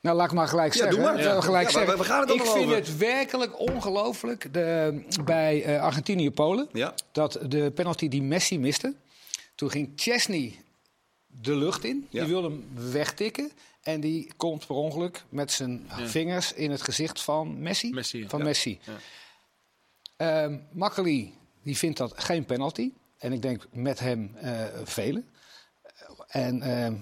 [SPEAKER 2] Nou, laat ik maar gelijk
[SPEAKER 1] Ja,
[SPEAKER 2] zeggen.
[SPEAKER 1] doe maar.
[SPEAKER 2] hè. Laten we
[SPEAKER 1] Ja.
[SPEAKER 2] gelijk
[SPEAKER 1] Ja, maar
[SPEAKER 2] zeggen.
[SPEAKER 1] we gaan het ook
[SPEAKER 2] ik
[SPEAKER 1] nog
[SPEAKER 2] vind
[SPEAKER 1] over.
[SPEAKER 2] het werkelijk ongelooflijk de- bij eh, Argentinië-Polen.
[SPEAKER 1] Ja.
[SPEAKER 2] Dat de penalty die Messi miste, toen ging Chesney de lucht in.
[SPEAKER 1] Ja.
[SPEAKER 2] Die wilde hem wegtikken. En die komt per ongeluk met zijn vingers in het gezicht van Messi.
[SPEAKER 3] Messi, ja.
[SPEAKER 2] van
[SPEAKER 3] Ja.
[SPEAKER 2] Messi. Ehm, Makkeli, die vindt dat geen penalty. En ik denk met hem eh, velen. En ehm,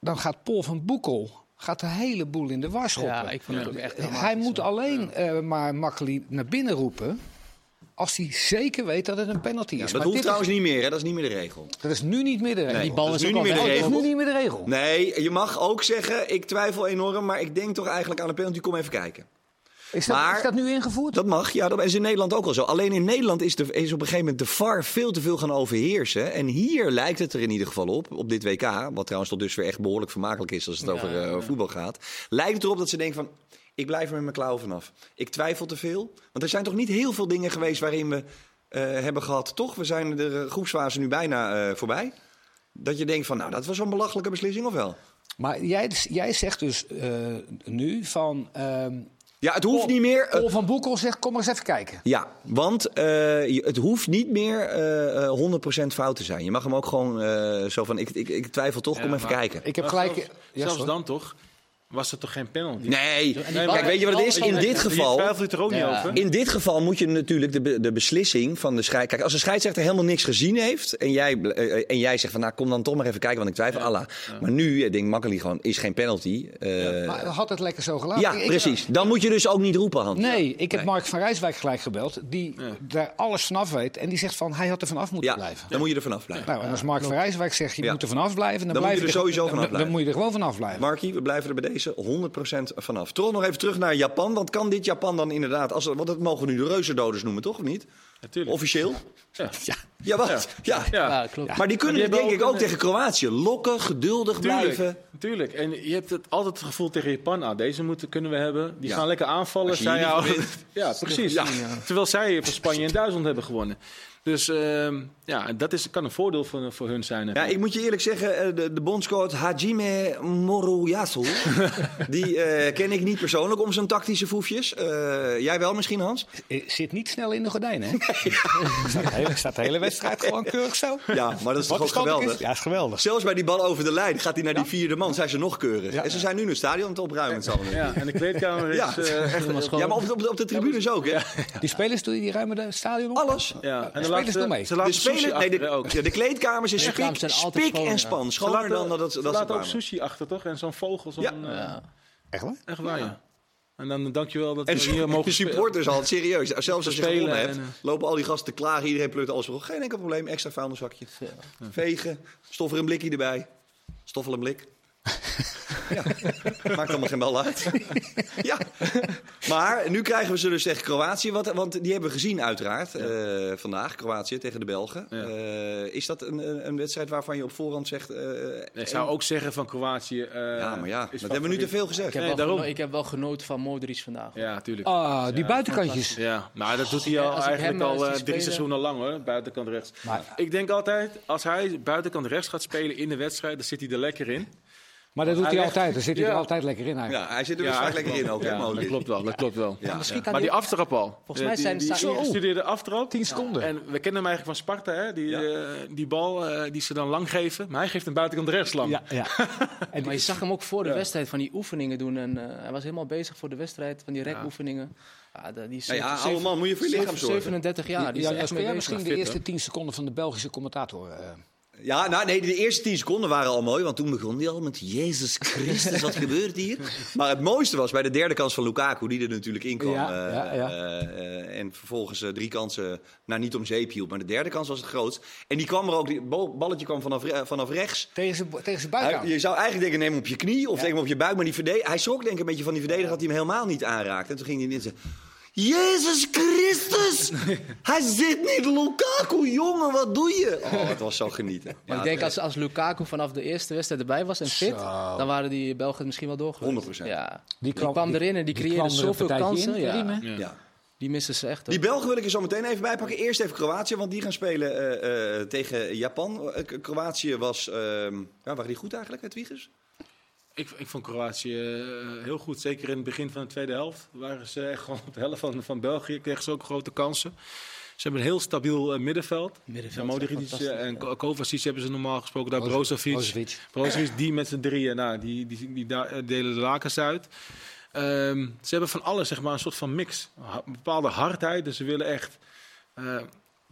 [SPEAKER 2] dan gaat Paul van Boekel gaat de hele boel in de war schoppen.
[SPEAKER 4] Ja, ik vond het ook echt helemaal
[SPEAKER 2] hij
[SPEAKER 4] niet
[SPEAKER 2] moet
[SPEAKER 4] zo.
[SPEAKER 2] alleen eh, maar Makkeli naar binnen roepen... als hij zeker weet dat het een penalty is.
[SPEAKER 1] Dat
[SPEAKER 2] maar
[SPEAKER 1] hoeft
[SPEAKER 2] dit
[SPEAKER 1] trouwens niet meer, hè? Dat is niet meer de regel.
[SPEAKER 2] is, dat is nu niet meer de regel.
[SPEAKER 1] Nee,
[SPEAKER 2] Oh,
[SPEAKER 4] bal
[SPEAKER 1] dat
[SPEAKER 4] is ook
[SPEAKER 1] nu
[SPEAKER 4] al
[SPEAKER 1] niet meer de
[SPEAKER 4] weg.
[SPEAKER 2] dat is
[SPEAKER 1] regel.
[SPEAKER 2] nu niet meer de regel.
[SPEAKER 1] Nee, je mag ook zeggen, ik twijfel enorm, maar ik denk toch eigenlijk aan de penalty. Kom even kijken.
[SPEAKER 2] Is, dat,
[SPEAKER 1] Maar-
[SPEAKER 2] is dat nu ingevoerd?
[SPEAKER 1] Dat mag, ja, dat is in Nederland ook al zo. Alleen in Nederland is, de, is op een gegeven moment de VAR veel te veel gaan overheersen. En hier lijkt het er in ieder geval op, op dit WK, wat trouwens tot dusver echt behoorlijk vermakelijk is als het
[SPEAKER 4] Ja,
[SPEAKER 1] over eh,
[SPEAKER 4] ja.
[SPEAKER 1] voetbal gaat. Lijkt het erop dat ze denken van, ik blijf er met mijn klauwen vanaf. Ik twijfel te veel, want er zijn toch niet heel veel dingen geweest waarin we eh, hebben gehad, toch? We zijn de eh, groepsfase nu bijna eh, voorbij. Dat je denkt van, nou, dat was zo'n belachelijke beslissing, of wel?
[SPEAKER 2] Maar jij, jij zegt dus eh, nu van... ehm
[SPEAKER 1] Ja, het hoeft
[SPEAKER 2] Paul-
[SPEAKER 1] niet meer. eh,
[SPEAKER 2] Paul van Boekel zegt, kom maar eens even kijken.
[SPEAKER 1] Ja, want eh, je- het hoeft niet meer eh, eh, 100% fout te zijn. Je mag hem ook gewoon eh, zo van, ik, ik, ik twijfel toch, kom
[SPEAKER 3] Ja,
[SPEAKER 1] even
[SPEAKER 3] maar-
[SPEAKER 1] kijken.
[SPEAKER 2] Ik heb
[SPEAKER 3] Maar
[SPEAKER 2] gelijk...
[SPEAKER 3] Zelfs,
[SPEAKER 2] Ja,
[SPEAKER 3] zelfs
[SPEAKER 2] sorry.
[SPEAKER 3] dan toch, was er toch geen penalty?
[SPEAKER 1] Nee,
[SPEAKER 4] bal-
[SPEAKER 1] kijk, weet je wat het is?
[SPEAKER 4] die
[SPEAKER 1] In
[SPEAKER 4] bal-
[SPEAKER 1] dit
[SPEAKER 3] Je
[SPEAKER 1] geval...
[SPEAKER 3] twijfelt er ook niet
[SPEAKER 4] Ja.
[SPEAKER 3] over.
[SPEAKER 1] In dit geval moet je natuurlijk de, be- de beslissing van de scheidsrechter. Kijk, als de scheidsrechter helemaal niks gezien heeft. en jij, bl- eh, eh, en jij zegt van nou kom dan toch maar even kijken, want ik twijfel. Allah. Maar nu eh, denkt Makkeli gewoon: is geen penalty. Eh, ja,
[SPEAKER 2] Maar had het lekker zo gelaten. Ik- ik-
[SPEAKER 1] precies. Dan moet je dus ook niet roepen, Hans.
[SPEAKER 2] Nee, ik heb Mark van Rijswijk gelijk gebeld. Die daar alles vanaf weet. En die zegt van, hij had er vanaf moeten
[SPEAKER 1] ja,
[SPEAKER 2] blijven.
[SPEAKER 1] dan moet je er vanaf blijven.
[SPEAKER 2] Nou, en als Mark van Rijswijk zegt, je
[SPEAKER 1] Ja.
[SPEAKER 2] moet er vanaf blijven... Dan,
[SPEAKER 1] Dan moet
[SPEAKER 2] blijf
[SPEAKER 1] je er sowieso vanaf
[SPEAKER 2] dan- Dan,
[SPEAKER 1] blijven.
[SPEAKER 2] moet je er gewoon vanaf blijven.
[SPEAKER 1] Markie, we blijven er bij deze 100% vanaf. Toch nog even terug naar Japan. Want kan dit Japan dan inderdaad, als, want dat mogen we nu de reuzendoders noemen, toch? Of niet?
[SPEAKER 3] Natuurlijk.
[SPEAKER 1] Officieel?
[SPEAKER 3] Ja.
[SPEAKER 1] Ja, wat? Ja.
[SPEAKER 3] Ja.
[SPEAKER 4] Ja, klopt.
[SPEAKER 1] Maar die kunnen
[SPEAKER 3] Maar
[SPEAKER 1] dit
[SPEAKER 3] die
[SPEAKER 1] denk ik
[SPEAKER 3] hebben
[SPEAKER 1] ook
[SPEAKER 3] ook een-
[SPEAKER 1] tegen Kroatië. Lokken, geduldig blijven.
[SPEAKER 3] Tuurlijk, tuurlijk. En je hebt het altijd het gevoel tegen Japan, ah, deze moeten, kunnen we hebben. Die
[SPEAKER 1] Ja.
[SPEAKER 3] gaan lekker aanvallen.
[SPEAKER 1] Als je
[SPEAKER 3] Zij
[SPEAKER 1] hier niet
[SPEAKER 3] houden-
[SPEAKER 1] wint.
[SPEAKER 3] ja, precies. Terwijl zij van Spanje en Duitsland hebben gewonnen. Dus ehm, ja, dat is, kan een voordeel voor, voor hun zijn.
[SPEAKER 1] Ja, ik moet je eerlijk zeggen, eh, de, de bondscoach Hajime Moroyasu, die eh, ken ik niet persoonlijk om zijn tactische foefjes. Eh, jij wel misschien, Hans?
[SPEAKER 2] Eh, Zit niet snel in de gordijnen, hè? staat, de hele, staat de hele wedstrijd gewoon keurig zo.
[SPEAKER 1] Ja, maar dat is toch
[SPEAKER 2] Wat
[SPEAKER 1] ook
[SPEAKER 2] de stand ook
[SPEAKER 1] geweldig?
[SPEAKER 2] is? Ja, is geweldig.
[SPEAKER 1] Zelfs bij die bal over de lijn gaat hij naar die vierde man, zijn ze nog keurig. En ze zijn nu een stadion aan het opruimen. het zal wel.
[SPEAKER 3] Ja, en de kleedkamer is...
[SPEAKER 1] Ja.
[SPEAKER 3] eh, echt-
[SPEAKER 4] Helemaal schoon.
[SPEAKER 1] Ja, maar op de, op de, op de tribunes ook, hè?
[SPEAKER 2] Die spelers doen die ruimen de stadion op.
[SPEAKER 1] Alles.
[SPEAKER 3] ja. En de
[SPEAKER 2] Spelers
[SPEAKER 3] laatste,
[SPEAKER 2] doen mee.
[SPEAKER 3] Ze
[SPEAKER 1] De,
[SPEAKER 3] laten sushi
[SPEAKER 1] spelers, nee,
[SPEAKER 3] achter
[SPEAKER 1] de,
[SPEAKER 3] hè, ook.
[SPEAKER 1] ja, de kleedkamers is spik,
[SPEAKER 4] Kleedkamers zijn altijd
[SPEAKER 1] spik
[SPEAKER 4] schoon,
[SPEAKER 1] en
[SPEAKER 4] ja.
[SPEAKER 1] span.
[SPEAKER 3] Ze
[SPEAKER 1] Schoner
[SPEAKER 3] laten,
[SPEAKER 1] dan dat, dat ze
[SPEAKER 3] ze laten ook
[SPEAKER 1] kwamen.
[SPEAKER 3] sushi achter, toch? En zo'n vogel, zo'n...
[SPEAKER 1] Ja.
[SPEAKER 3] eh,
[SPEAKER 4] Ja.
[SPEAKER 2] Echt waar?
[SPEAKER 3] Echt waar, ja. En dan dankjewel dat
[SPEAKER 1] En
[SPEAKER 3] we hier mogen
[SPEAKER 1] de
[SPEAKER 3] spelen.
[SPEAKER 1] supporters al, serieus. Zelfs als je
[SPEAKER 3] Spelen
[SPEAKER 1] gewonnen
[SPEAKER 3] en,
[SPEAKER 1] hebt,
[SPEAKER 3] eh,
[SPEAKER 1] lopen al die gasten te klagen. Iedereen pleurt alles op. Geen enkel probleem, extra vuilniszakje. Vegen, stoffel een blikje erbij. Stoffel een blik. ja. Maakt allemaal geen bal uit. ja. Maar nu krijgen we ze dus tegen Kroatië. Wat, want die hebben we gezien uiteraard eh, vandaag. Kroatië tegen de Belgen.
[SPEAKER 3] Ja.
[SPEAKER 1] Eh, is dat een, een- een wedstrijd waarvan je op voorhand zegt... eh,
[SPEAKER 3] Ik zou ook zeggen van Kroatië... eh,
[SPEAKER 1] Ja, maar ja,
[SPEAKER 3] is
[SPEAKER 1] dat hebben we nu te
[SPEAKER 3] favoriet.
[SPEAKER 1] veel gezegd.
[SPEAKER 4] Ik heb,
[SPEAKER 3] Nee,
[SPEAKER 4] wel
[SPEAKER 3] daarom.
[SPEAKER 4] geno- ik heb wel genoten van Modric vandaag.
[SPEAKER 3] Ja, tuurlijk.
[SPEAKER 2] Ah, die buitenkantjes.
[SPEAKER 3] Ja, maar dat doet hij al
[SPEAKER 4] als ik
[SPEAKER 3] eigenlijk
[SPEAKER 4] hem, eh,
[SPEAKER 3] al
[SPEAKER 4] zie
[SPEAKER 3] eh, drie
[SPEAKER 4] spelen-
[SPEAKER 3] seizoenen lang hoor, buitenkant rechts.
[SPEAKER 2] Maar-
[SPEAKER 3] ik denk altijd, als hij buitenkant rechts gaat spelen in de wedstrijd, dan zit hij er lekker in.
[SPEAKER 2] Maar dat doet hij
[SPEAKER 3] Hij
[SPEAKER 2] altijd. Daar zit hij er
[SPEAKER 3] Ja.
[SPEAKER 2] altijd lekker in eigenlijk.
[SPEAKER 1] Ja, hij zit er dus vaak lekker in ook, hè,
[SPEAKER 3] Ja, dat
[SPEAKER 1] Modric?
[SPEAKER 3] klopt wel, dat klopt wel.
[SPEAKER 1] Ja.
[SPEAKER 4] Misschien kan
[SPEAKER 3] Maar die
[SPEAKER 4] die-
[SPEAKER 3] aftrap al.
[SPEAKER 4] Volgens mij
[SPEAKER 3] Eh,
[SPEAKER 4] zijn- Oh.
[SPEAKER 3] die, die,
[SPEAKER 4] staan-
[SPEAKER 3] die gestudeerde aftrap.
[SPEAKER 2] 10 seconden.
[SPEAKER 3] En we kennen hem eigenlijk van Sparta, hè? Die,
[SPEAKER 1] Ja.
[SPEAKER 3] eh, die bal eh, die ze dan lang geven. Maar hij geeft hem buitenkant rechts lang.
[SPEAKER 2] Ja, ja. En
[SPEAKER 4] Maar
[SPEAKER 2] die
[SPEAKER 4] je zag hem ook voor de
[SPEAKER 3] Ja.
[SPEAKER 4] wedstrijd van die oefeningen doen. En eh, hij was helemaal bezig voor de wedstrijd van die rekoefeningen. Ja, de- die
[SPEAKER 1] Nou ja,
[SPEAKER 4] zeven-
[SPEAKER 1] oude man, moet je voor je lichaam zorgen.
[SPEAKER 4] 37 jaar. Die
[SPEAKER 2] ja,
[SPEAKER 4] is er
[SPEAKER 2] ja,
[SPEAKER 4] echt
[SPEAKER 2] kun
[SPEAKER 4] mee
[SPEAKER 2] jij
[SPEAKER 4] bezig.
[SPEAKER 2] misschien de
[SPEAKER 3] Fit,
[SPEAKER 2] eerste
[SPEAKER 3] hoor.
[SPEAKER 2] 10 seconden van de Belgische commentator. eh,
[SPEAKER 1] Ja, nou nee, de eerste 10 seconden waren al mooi, want toen begon hij al met Jezus Christus, wat gebeurt hier? Maar het mooiste was bij de derde kans van Lukaku, die er natuurlijk in kwam.
[SPEAKER 2] Ja,
[SPEAKER 1] eh,
[SPEAKER 2] ja, ja.
[SPEAKER 1] eh, eh, en vervolgens eh, drie kansen, nou niet om zeep hielp, maar de derde kans was het grootst. En die kwam er ook, die bal- balletje kwam vanaf, re- vanaf rechts.
[SPEAKER 2] tegen zijn tegen zijn
[SPEAKER 1] Hij-
[SPEAKER 2] buik aan.
[SPEAKER 1] je zou eigenlijk denken, neem hem op je knie of neem hem op je buik, maar die verde- hij schrok denk ik een beetje van die verdediger dat hij hem helemaal niet aanraakte. En toen ging hij in zijn... Jezus Christus! Hij zit niet Lukaku, jongen, wat doe je? Oh, het was zo genieten.
[SPEAKER 4] Maar
[SPEAKER 1] Ja,
[SPEAKER 4] ik denk als, als Lukaku vanaf de eerste wedstrijd erbij was en fit, dan waren die Belgen misschien wel doorgegaan.
[SPEAKER 1] 100%.
[SPEAKER 4] Ja.
[SPEAKER 2] Die
[SPEAKER 4] Die
[SPEAKER 2] kwam-
[SPEAKER 4] kwam,
[SPEAKER 2] die-
[SPEAKER 4] erin en
[SPEAKER 2] die
[SPEAKER 4] die, creëerde
[SPEAKER 2] kwam er een
[SPEAKER 4] zoveel
[SPEAKER 2] partijtje
[SPEAKER 4] kansen.
[SPEAKER 2] in,
[SPEAKER 4] ja.
[SPEAKER 2] Karim, hè?
[SPEAKER 1] ja.
[SPEAKER 4] Die missen ze echt. hoor.
[SPEAKER 1] Die Belgen wil ik er zo meteen even bij pakken. Eerst even Kroatië, want die gaan spelen eh, eh, tegen Japan. Eh, K- Kroatië was. ehm, ja, waren die goed eigenlijk, Hedwiges?
[SPEAKER 3] Ik, ik vond Kroatië eh, heel goed. Zeker in het begin van de tweede helft waren ze echt gewoon op de helft van, van België. Kregen ze ook grote kansen. Ze hebben een heel stabiel eh, middenveld.
[SPEAKER 4] Middenveld
[SPEAKER 3] Ja,
[SPEAKER 4] is echt
[SPEAKER 3] Modric
[SPEAKER 4] fantastisch,
[SPEAKER 3] en Ko- Kovacic hebben ze normaal gesproken. Daar Brozovic.
[SPEAKER 2] Brozovic.
[SPEAKER 3] Brozovic, die met z'n drieën. Nou, die, die, die da- eh, delen de lakens uit. Ehm, ze hebben van alles zeg maar, een soort van mix. Ha- Een bepaalde hardheid. Dus ze willen echt... eh,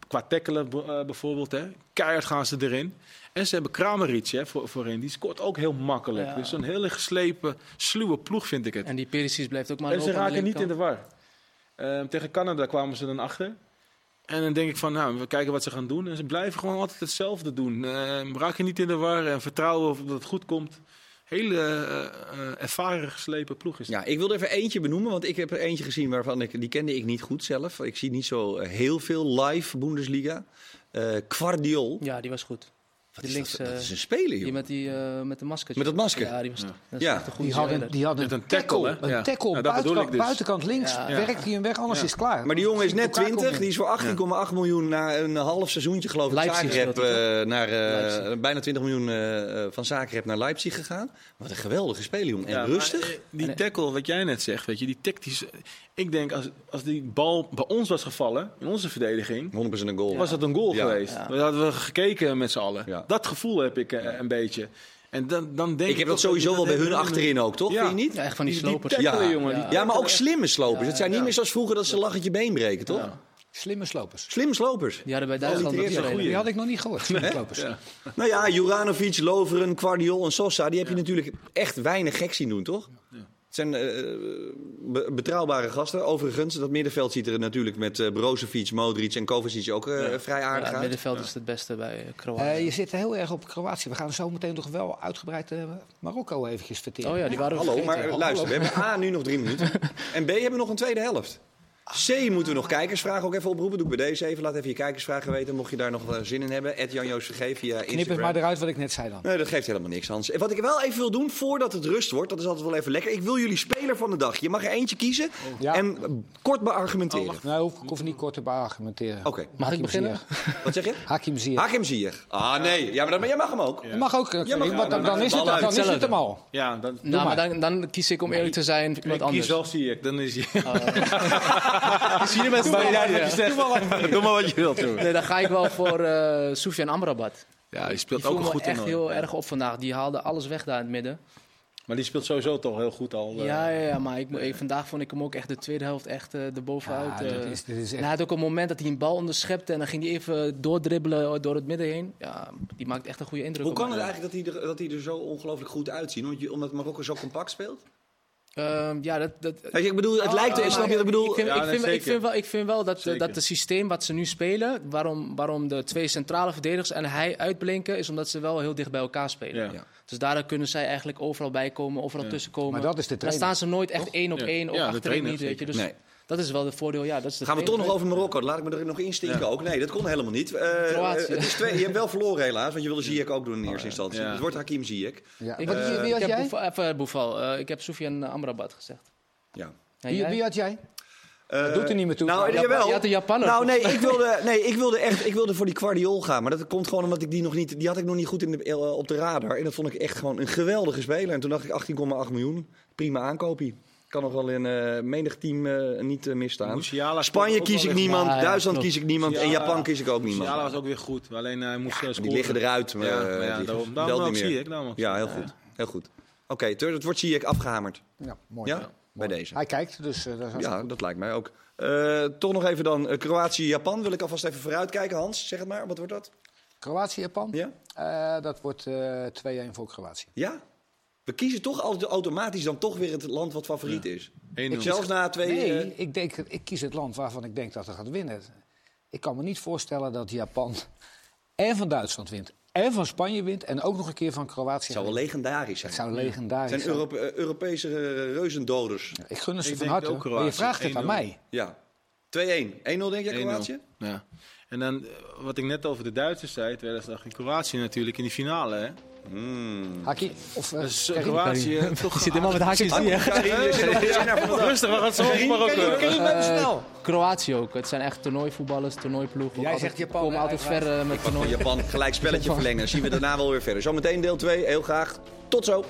[SPEAKER 3] qua tackelen b- eh, bijvoorbeeld. Hè. Keihard gaan ze erin. En ze hebben Kramaric hè, voor, voorin. Die scoort ook heel makkelijk.
[SPEAKER 4] Ja.
[SPEAKER 3] Dus een hele geslepen, sluwe ploeg vind ik het.
[SPEAKER 4] En die Perisic blijft ook maar
[SPEAKER 3] En ze
[SPEAKER 4] lopen aan de
[SPEAKER 3] raken niet in de
[SPEAKER 4] linkerkant.
[SPEAKER 3] war. Ehm, tegen Canada kwamen ze dan achter. En dan denk ik van, nou, we kijken wat ze gaan doen. En ze blijven gewoon altijd hetzelfde doen. Ehm raken niet in de war en vertrouwen of dat het goed komt. Hele eh, eh, ervaren geslepen ploeg is. het.
[SPEAKER 1] Ja, ik wilde even eentje benoemen, want ik heb er eentje gezien waarvan ik. Die kende ik niet goed zelf. Ik zie niet zo eh, heel veel live Bundesliga. Eh Kwardiol.
[SPEAKER 4] Ja, die was goed.
[SPEAKER 1] Wat
[SPEAKER 4] die
[SPEAKER 1] is
[SPEAKER 4] links,
[SPEAKER 1] dat, dat
[SPEAKER 4] eh,
[SPEAKER 1] is een speler, joh.
[SPEAKER 4] Die met, die, eh, met de masker.
[SPEAKER 1] Met dat masker?
[SPEAKER 4] Ja, die was dat is
[SPEAKER 1] Ja.
[SPEAKER 4] echt een goede
[SPEAKER 2] Die hadden,
[SPEAKER 4] speler.
[SPEAKER 2] die hadden
[SPEAKER 3] Met een tackle, hè?
[SPEAKER 2] Een
[SPEAKER 3] Ja.
[SPEAKER 2] tackle.
[SPEAKER 3] Ja, dat bedoel
[SPEAKER 2] buitenkant,
[SPEAKER 3] ik dus.
[SPEAKER 2] buitenkant links
[SPEAKER 4] Ja.
[SPEAKER 2] werkt hij hem weg, anders
[SPEAKER 3] Ja.
[SPEAKER 2] is het klaar.
[SPEAKER 1] Maar die jongen is net
[SPEAKER 2] Lukaku
[SPEAKER 1] 20.
[SPEAKER 2] in.
[SPEAKER 1] Die is voor 18,8 miljoen na een half seizoentje, geloof ik,
[SPEAKER 4] Leipzig
[SPEAKER 1] Zagreb,
[SPEAKER 4] speelt hij,
[SPEAKER 1] eh, naar eh,
[SPEAKER 4] Leipzig.
[SPEAKER 1] bijna 20 miljoen eh, eh, van Zagreb naar Leipzig gegaan. Wat een geweldige speler, jongen. En
[SPEAKER 3] Ja, maar,
[SPEAKER 1] rustig.
[SPEAKER 3] eh, die tackle, wat jij net zegt, weet je, die tactisch. eh, Ik denk, als, als die bal bij ons was gevallen, in onze verdediging,
[SPEAKER 1] 100% een goal.
[SPEAKER 3] was dat een goal
[SPEAKER 1] Ja.
[SPEAKER 3] geweest.
[SPEAKER 4] Ja.
[SPEAKER 3] Dan hadden we gekeken met z'n allen.
[SPEAKER 1] Ja.
[SPEAKER 3] Dat gevoel heb ik eh, een beetje. En dan, dan denk
[SPEAKER 1] Ik heb dat
[SPEAKER 3] toch
[SPEAKER 1] sowieso
[SPEAKER 3] je
[SPEAKER 1] wel bij hun
[SPEAKER 3] helemaal niet-
[SPEAKER 1] achterin ook, toch?
[SPEAKER 3] Ja.
[SPEAKER 1] Vind je niet?
[SPEAKER 4] Ja, echt van die,
[SPEAKER 3] Die- die
[SPEAKER 4] slopers.
[SPEAKER 3] tackle,
[SPEAKER 1] Ja.
[SPEAKER 3] jongen. die-
[SPEAKER 1] Ja, maar ook slimme slopers.
[SPEAKER 4] Ja,
[SPEAKER 1] Het zijn niet meer zoals vroeger dat ze lachend je been breken, toch?
[SPEAKER 2] Slimme slopers.
[SPEAKER 1] Slimme slopers.
[SPEAKER 4] Die hadden bij Duitsland
[SPEAKER 1] die
[SPEAKER 4] ook eh,
[SPEAKER 1] eerste
[SPEAKER 4] trainer.
[SPEAKER 3] goeie.
[SPEAKER 2] Die had ik nog niet gehoord. Slimme slopers.
[SPEAKER 3] Ja.
[SPEAKER 1] Nou ja, Juranovic, Loveren, Guardiol en Sosa, die heb je natuurlijk echt weinig gek zien doen, toch? Het zijn eh, be- betrouwbare gasten. Overigens, dat middenveld ziet er natuurlijk met eh, Brozovic, Modric en Kovacic ook eh, vrij
[SPEAKER 4] Ja,
[SPEAKER 1] aardig
[SPEAKER 4] het
[SPEAKER 1] uit.
[SPEAKER 4] middenveld is het beste bij eh, Kroatië.
[SPEAKER 2] Eh, je zit heel erg op Kroatië. We gaan zo meteen nog wel uitgebreid eh, Marokko eventjes verteren.
[SPEAKER 4] Oh ja, die waren we
[SPEAKER 1] Hallo,
[SPEAKER 4] vergeten.
[SPEAKER 1] maar luister, we hebben A nu nog drie minuten en B hebben we nog een tweede helft. C moeten we nog kijkersvragen ook even oproepen. Doe ik bij deze even. Laat even je kijkersvragen weten, mocht je daar nog eh, zin in hebben. Ed Jan Joos Vergeef via
[SPEAKER 2] Knip het
[SPEAKER 1] Instagram.
[SPEAKER 2] maar eruit wat ik net zei dan.
[SPEAKER 1] Nee, dat geeft helemaal niks, Hans. En Wat ik wel even wil doen, voordat het rust wordt, dat is altijd wel even lekker. Ik wil jullie speler van de dag. Je mag er eentje kiezen
[SPEAKER 2] Ja.
[SPEAKER 1] en eh, kort beargumenteren.
[SPEAKER 2] Nou, hoef, ik hoef niet kort te beargumenteren.
[SPEAKER 1] Oké,
[SPEAKER 4] Mag ik
[SPEAKER 2] Hakim
[SPEAKER 4] beginnen?
[SPEAKER 2] Ziyech.
[SPEAKER 1] wat zeg je?
[SPEAKER 2] Hakim Ziyech.
[SPEAKER 1] Hakim Ziyech. Ah, nee. Ja, maar, dat, maar jij mag hem ook.
[SPEAKER 2] Dat mag ook, eh,
[SPEAKER 1] Ja, mag-
[SPEAKER 2] want dan,
[SPEAKER 1] ja,
[SPEAKER 2] dan
[SPEAKER 1] dan
[SPEAKER 2] is het,
[SPEAKER 1] bal uit.
[SPEAKER 2] dan is het
[SPEAKER 4] Hetzelfde.
[SPEAKER 2] hem al.
[SPEAKER 3] Ja, dan,
[SPEAKER 4] Nou, maar
[SPEAKER 2] maar.
[SPEAKER 4] dan, dan kies ik om eerlijk te zijn voor
[SPEAKER 3] ik
[SPEAKER 4] iemand anders. Oh.
[SPEAKER 3] kies wel zie ik. Dan is hij...
[SPEAKER 4] Zie je mensen
[SPEAKER 3] Maakt niet
[SPEAKER 4] wel-
[SPEAKER 3] uit wat je zegt. Doe maar wat je wilt, joh.
[SPEAKER 4] Nee, dan ga ik wel voor eh Soufiane Amrabat.
[SPEAKER 3] Ja, die
[SPEAKER 4] Die
[SPEAKER 3] speelt
[SPEAKER 4] viel
[SPEAKER 3] ook
[SPEAKER 4] me
[SPEAKER 3] goed
[SPEAKER 4] echt
[SPEAKER 3] in.
[SPEAKER 4] heel erg op vandaag. Die haalde alles weg daar in het midden.
[SPEAKER 3] Maar die speelt sowieso toch heel goed al. eh.
[SPEAKER 4] Ja, ja, ja maar ik, mo- ik- vandaag vond ik hem ook echt de tweede helft echt eh erbovenuit.
[SPEAKER 2] Ja,
[SPEAKER 4] eh.
[SPEAKER 2] dat is- dit is
[SPEAKER 4] En
[SPEAKER 2] echt-
[SPEAKER 4] hij had ook een moment dat hij een bal onderschepte en dan ging hij even doordribbelen door het midden heen. Ja, die maakt echt een goede indruk.
[SPEAKER 1] Hoe
[SPEAKER 4] op
[SPEAKER 1] kan
[SPEAKER 4] mij.
[SPEAKER 1] het eigenlijk dat hij er, dat hij er zo ongelooflijk goed uitziet? Omdat, je- omdat Marokko zo compact speelt?
[SPEAKER 4] Ehm, ja, dat, dat,
[SPEAKER 1] Weet je, ik bedoel, het
[SPEAKER 4] Oh,
[SPEAKER 1] lijkt...
[SPEAKER 4] ja,
[SPEAKER 1] snap je
[SPEAKER 4] maar
[SPEAKER 1] wat ik bedoel?
[SPEAKER 4] Ik vind,
[SPEAKER 3] Ja,
[SPEAKER 4] ik
[SPEAKER 3] nee,
[SPEAKER 4] vind, ik
[SPEAKER 3] zeker.
[SPEAKER 4] vind wel, ik vind wel dat, eh,
[SPEAKER 3] Zeker.
[SPEAKER 4] dat het systeem wat ze nu spelen, waarom, waarom de twee centrale verdedigers en hij uitblinken, is omdat ze wel heel dicht bij elkaar spelen.
[SPEAKER 3] Ja.
[SPEAKER 1] Ja.
[SPEAKER 4] Dus daardoor kunnen zij eigenlijk overal bij komen, overal tussen komen.
[SPEAKER 2] Maar dat is de
[SPEAKER 4] Dan
[SPEAKER 2] trainer.
[SPEAKER 4] staan ze nooit echt één op
[SPEAKER 3] Ja.
[SPEAKER 4] één, of
[SPEAKER 3] Ja, de
[SPEAKER 4] achterin
[SPEAKER 3] trainer,
[SPEAKER 4] niet, weet je. Dus
[SPEAKER 1] Nee.
[SPEAKER 4] dat is wel de voordeel, ja. Dat is de
[SPEAKER 1] Gaan we toch nog
[SPEAKER 4] trainer.
[SPEAKER 1] over Marokko? Laat ik me er nog instinken ook. Nee, dat kon helemaal niet. Eh,
[SPEAKER 4] Kroatië.
[SPEAKER 1] eh, het is twee, je hebt wel verloren helaas, want je wilde Ziyech ook doen in eerste instantie. Dus
[SPEAKER 3] Ja.
[SPEAKER 1] Het wordt Hakim Ziyech.
[SPEAKER 2] Ja. Eh,
[SPEAKER 4] Ik,
[SPEAKER 2] Wat- wie, wie
[SPEAKER 4] ik
[SPEAKER 2] had
[SPEAKER 4] heb
[SPEAKER 2] jij?
[SPEAKER 4] Boeval- even Boeval, eh, ik heb Soufiane Amrabat gezegd.
[SPEAKER 1] Ja.
[SPEAKER 4] En
[SPEAKER 2] Wie,
[SPEAKER 4] jij?
[SPEAKER 2] wie had jij?
[SPEAKER 1] Eh,
[SPEAKER 2] doet er niet meer toe.
[SPEAKER 1] Nou,
[SPEAKER 2] Ja,
[SPEAKER 1] jawel.
[SPEAKER 4] je had een Japanner.
[SPEAKER 1] Nou, nee, ik wilde, nee, ik wilde echt ik wilde voor die Guardiol gaan. Maar dat komt gewoon omdat ik die nog niet... Die had ik nog niet goed in de, eh, op de radar. En dat vond ik echt gewoon een geweldige speler. En toen dacht ik 18,8 miljoen. Prima aankoopie. Kan nog wel in eh, menig team eh, niet eh, misstaan.
[SPEAKER 3] Musiala
[SPEAKER 1] Spanje
[SPEAKER 3] speelt ook
[SPEAKER 1] kies
[SPEAKER 3] wel
[SPEAKER 1] ik
[SPEAKER 3] echt-
[SPEAKER 1] niemand.
[SPEAKER 4] Ja, ja,
[SPEAKER 1] Duitsland
[SPEAKER 4] klopt.
[SPEAKER 1] kies ik niemand. En
[SPEAKER 3] Ja.
[SPEAKER 1] Japan kies ik ook niemand.
[SPEAKER 3] Musiala was ook weer goed. Alleen hij moest eh, scoren.
[SPEAKER 1] Die liggen eruit. Maar,
[SPEAKER 3] Ja, maar
[SPEAKER 1] eh,
[SPEAKER 3] ja,
[SPEAKER 1] die
[SPEAKER 3] daarom-
[SPEAKER 1] telt
[SPEAKER 3] daarom
[SPEAKER 1] niet
[SPEAKER 3] zie
[SPEAKER 1] meer.
[SPEAKER 3] ik, daarom ook
[SPEAKER 1] ja, heel
[SPEAKER 3] zie ik,
[SPEAKER 1] goed. Heel goed. Oké, Tur, het wordt zie ik afgehamerd.
[SPEAKER 2] Ja, mooi.
[SPEAKER 1] Ja?
[SPEAKER 2] Mooi.
[SPEAKER 1] Bij deze.
[SPEAKER 2] Hij kijkt, dus eh, dat is hartstikke
[SPEAKER 1] Ja,
[SPEAKER 2] goed.
[SPEAKER 1] dat lijkt mij ook. Eh, toch nog even dan eh, Kroatië-Japan. Wil ik alvast even vooruitkijken, Hans. Zeg het maar. Wat wordt dat?
[SPEAKER 2] Kroatië-Japan?
[SPEAKER 1] Ja?
[SPEAKER 2] Eh, dat wordt eh 2-1 voor Kroatië.
[SPEAKER 1] Ja? We kiezen toch altijd automatisch dan toch weer het land wat favoriet is.
[SPEAKER 3] 1-0.
[SPEAKER 1] Ik zelfs na twee...
[SPEAKER 2] Nee,
[SPEAKER 1] eh,
[SPEAKER 2] ik, denk, ik kies het land waarvan ik denk dat het gaat winnen. Ik kan me niet voorstellen dat Japan en van Duitsland wint, en van Spanje wint, en ook nog een keer van Kroatië.
[SPEAKER 1] het zou wel
[SPEAKER 2] wint.
[SPEAKER 1] legendarisch zijn.
[SPEAKER 2] Het zou
[SPEAKER 1] Het
[SPEAKER 2] legendarisch
[SPEAKER 1] zijn
[SPEAKER 2] zijn.
[SPEAKER 1] Europe- eh, Europese eh, reuzendoders.
[SPEAKER 2] Ik gun het ze
[SPEAKER 3] Ik
[SPEAKER 2] van
[SPEAKER 3] denk
[SPEAKER 2] harte.
[SPEAKER 3] ook
[SPEAKER 2] Maar je
[SPEAKER 3] Kroatië.
[SPEAKER 2] vraagt het aan
[SPEAKER 3] 1-0.
[SPEAKER 2] mij.
[SPEAKER 1] Ja. 2-1. 1-0 denk jij
[SPEAKER 3] 1-0.
[SPEAKER 1] Kroatië?
[SPEAKER 3] Ja. En dan, eh, wat ik net over de Duitsers zei, 2018 Kroatië natuurlijk in die finale. Hè?
[SPEAKER 2] Haki, of, eh,
[SPEAKER 3] Dus eh,
[SPEAKER 2] Karim.
[SPEAKER 3] Kroatië... toch
[SPEAKER 4] Ik zit helemaal met haakjes hier.
[SPEAKER 3] Rustig, we gaan het zo over
[SPEAKER 2] eh,
[SPEAKER 3] Marokko.
[SPEAKER 2] snel.
[SPEAKER 4] Kroatië ook. Het zijn echt toernooivoetballers, toernooiploeg. Ook
[SPEAKER 2] Jij
[SPEAKER 4] altijd-
[SPEAKER 2] zegt Japan,
[SPEAKER 4] komen
[SPEAKER 2] hè,
[SPEAKER 4] altijd ver eh, met
[SPEAKER 1] Van
[SPEAKER 4] toernooi.
[SPEAKER 1] Japan gelijk spelletje verlengen. Dan zien we daarna wel weer verder. Zometeen deel 2. Heel graag. Tot zo.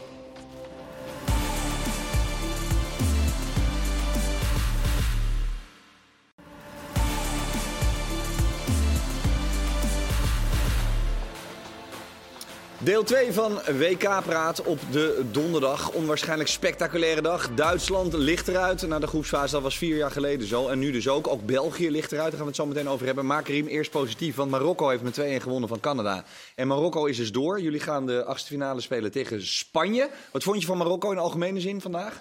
[SPEAKER 1] Deel 2 van WK Praat op de donderdag. Onwaarschijnlijk spectaculaire dag. Duitsland ligt eruit na de groepsfase. Dat was vier jaar geleden zo. En nu dus ook. Ook België ligt eruit. Daar gaan we het zo meteen over hebben. Maar Karim, eerst positief. Want Marokko heeft met 2-1 gewonnen van Canada. En Marokko is dus door. Jullie gaan de achtste finale spelen tegen Spanje. Wat vond je van Marokko in algemene zin vandaag?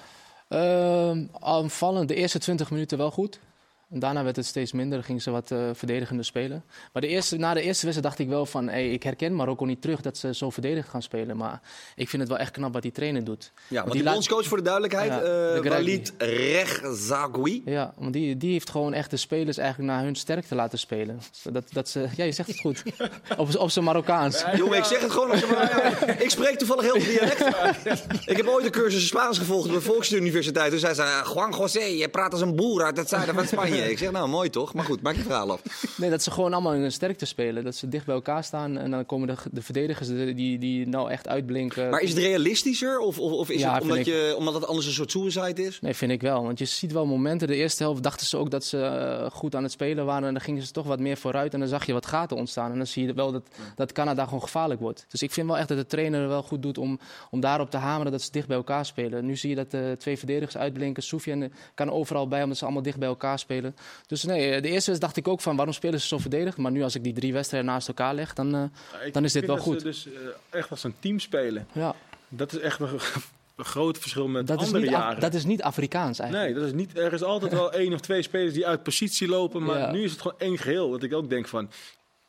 [SPEAKER 4] Ehm, aanvallend de eerste 20 minuten wel goed. En Daarna werd het steeds minder, gingen ze wat eh verdedigender spelen. Maar de eerste, na de eerste wedstrijd dacht ik wel van... Hey, ik herken Marokko niet terug dat ze zo verdedigd gaan spelen. Maar ik vind het wel echt knap wat die trainer doet.
[SPEAKER 1] Ja, want
[SPEAKER 4] die
[SPEAKER 1] die
[SPEAKER 4] laat-
[SPEAKER 1] bondscoach voor de
[SPEAKER 4] Ja,
[SPEAKER 1] duidelijkheid.
[SPEAKER 4] de
[SPEAKER 1] eh
[SPEAKER 4] Gregori.
[SPEAKER 1] Walid Rezagoui.
[SPEAKER 4] Ja, want die, die heeft gewoon echt de spelers eigenlijk naar hun sterkte laten spelen. Dat, dat ze, ja, je zegt het goed. op, op zijn Marokkaans.
[SPEAKER 1] Jongen, ik zeg het gewoon. als je maar- ja, ik spreek toevallig heel veel dialecten. Ik heb ooit een cursus Spaans gevolgd op de Volksuniversiteit. Toen zei ze, eh, Juan José, je praat als een boer uit het zuiden van Spanje. Ik zeg, nou, mooi toch? Maar goed, maak je verhaal af.
[SPEAKER 4] Nee, dat ze gewoon allemaal in hun sterkte spelen. Dat ze dicht bij elkaar staan en dan komen de, de verdedigers die, die, die nou echt uitblinken.
[SPEAKER 1] Maar is het realistischer? Of, of, of is
[SPEAKER 4] Ja,
[SPEAKER 1] het
[SPEAKER 4] vind
[SPEAKER 1] omdat,
[SPEAKER 4] ik.
[SPEAKER 1] je, omdat het anders een soort suicide is?
[SPEAKER 4] Nee, vind ik wel. Want je ziet wel momenten. De eerste helft dachten ze ook dat ze eh, goed aan het spelen waren. En dan gingen ze toch wat meer vooruit. En dan zag je wat gaten ontstaan. En dan zie je wel dat, dat Canada gewoon gevaarlijk wordt. Dus ik vind wel echt dat de trainer wel goed doet om, om daarop te hameren dat ze dicht bij elkaar spelen. Nu zie je dat de twee verdedigers uitblinken. Soufiane kan overal bij omdat ze allemaal dicht bij elkaar spelen. Dus nee, eh, de eerste wedstrijd dacht ik ook van waarom spelen ze zo verdedigd? Maar nu als ik die drie wedstrijden naast elkaar leg, dan... eh,
[SPEAKER 3] Ik
[SPEAKER 4] Dan is dit
[SPEAKER 3] vind
[SPEAKER 4] wel
[SPEAKER 3] dat ze dus eh, echt als een team spelen.
[SPEAKER 4] ja,
[SPEAKER 3] Dat is echt een, een groot verschil met
[SPEAKER 4] dat is,
[SPEAKER 3] andere
[SPEAKER 4] niet Af-
[SPEAKER 3] jaren.
[SPEAKER 4] dat is niet Afrikaans eigenlijk.
[SPEAKER 3] Nee, dat is niet, er is altijd wel één of twee spelers die uit positie lopen. Maar
[SPEAKER 4] Ja.
[SPEAKER 3] nu is het gewoon één geheel. Dat ik ook denk van,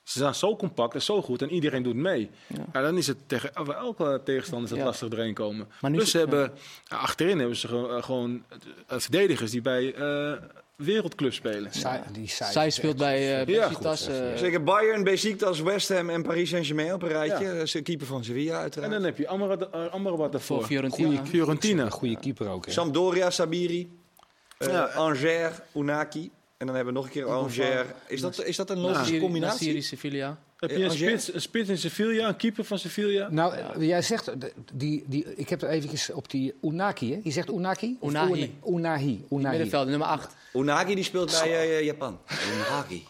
[SPEAKER 3] ze zijn zo compact en zo goed en iedereen doet mee. Ja. dan is het tegen voor elke tegenstander is het
[SPEAKER 4] Ja.
[SPEAKER 3] lastig doorheen komen.
[SPEAKER 4] Maar nu
[SPEAKER 3] Plus
[SPEAKER 4] is-
[SPEAKER 3] ze hebben, ja, achterin hebben ze gewoon, eh, gewoon, eh, verdedigers die bij eh, wereldclub spelen.
[SPEAKER 2] Zij, die Zij
[SPEAKER 4] Zij
[SPEAKER 2] is
[SPEAKER 4] speelt
[SPEAKER 2] echt-
[SPEAKER 4] bij eh
[SPEAKER 3] Ja,
[SPEAKER 4] Besiktas,
[SPEAKER 2] goed,
[SPEAKER 4] eh,
[SPEAKER 1] Zeker Bayern, Besiktas, West Ham en Paris Saint-Germain op een rijtje. Dat is de keeper van Sevilla
[SPEAKER 3] En
[SPEAKER 1] uiteraard.
[SPEAKER 3] dan heb je Amrabat, eh, Amrabat
[SPEAKER 4] voor
[SPEAKER 3] daarvoor.
[SPEAKER 4] Fiorentina.
[SPEAKER 3] Goeie Fiorentina.
[SPEAKER 2] Een goede keeper ook. Hè?
[SPEAKER 1] Sampdoria, Sabiri, eh,
[SPEAKER 3] Ja.
[SPEAKER 1] Angers, Unaki. En dan hebben we nog een keer Angers. Is dat, is dat een logische
[SPEAKER 4] Nasiri-
[SPEAKER 1] Nou, combinatie?
[SPEAKER 4] Nasiri, Sevilla.
[SPEAKER 3] Heb je een
[SPEAKER 1] Als je-
[SPEAKER 3] spits, een spits in Sevilla, een keeper van Sevilla?
[SPEAKER 2] Nou, eh, jij zegt, eh, die, die, ik heb er eventjes op die Unaki, hè? Je zegt Unaki? Of
[SPEAKER 4] Unahi.
[SPEAKER 2] Una- Unahi. Unahi.
[SPEAKER 4] Middenveld, nummer 8.
[SPEAKER 1] Unagi die speelt bij eh, eh, Japan. Unagi.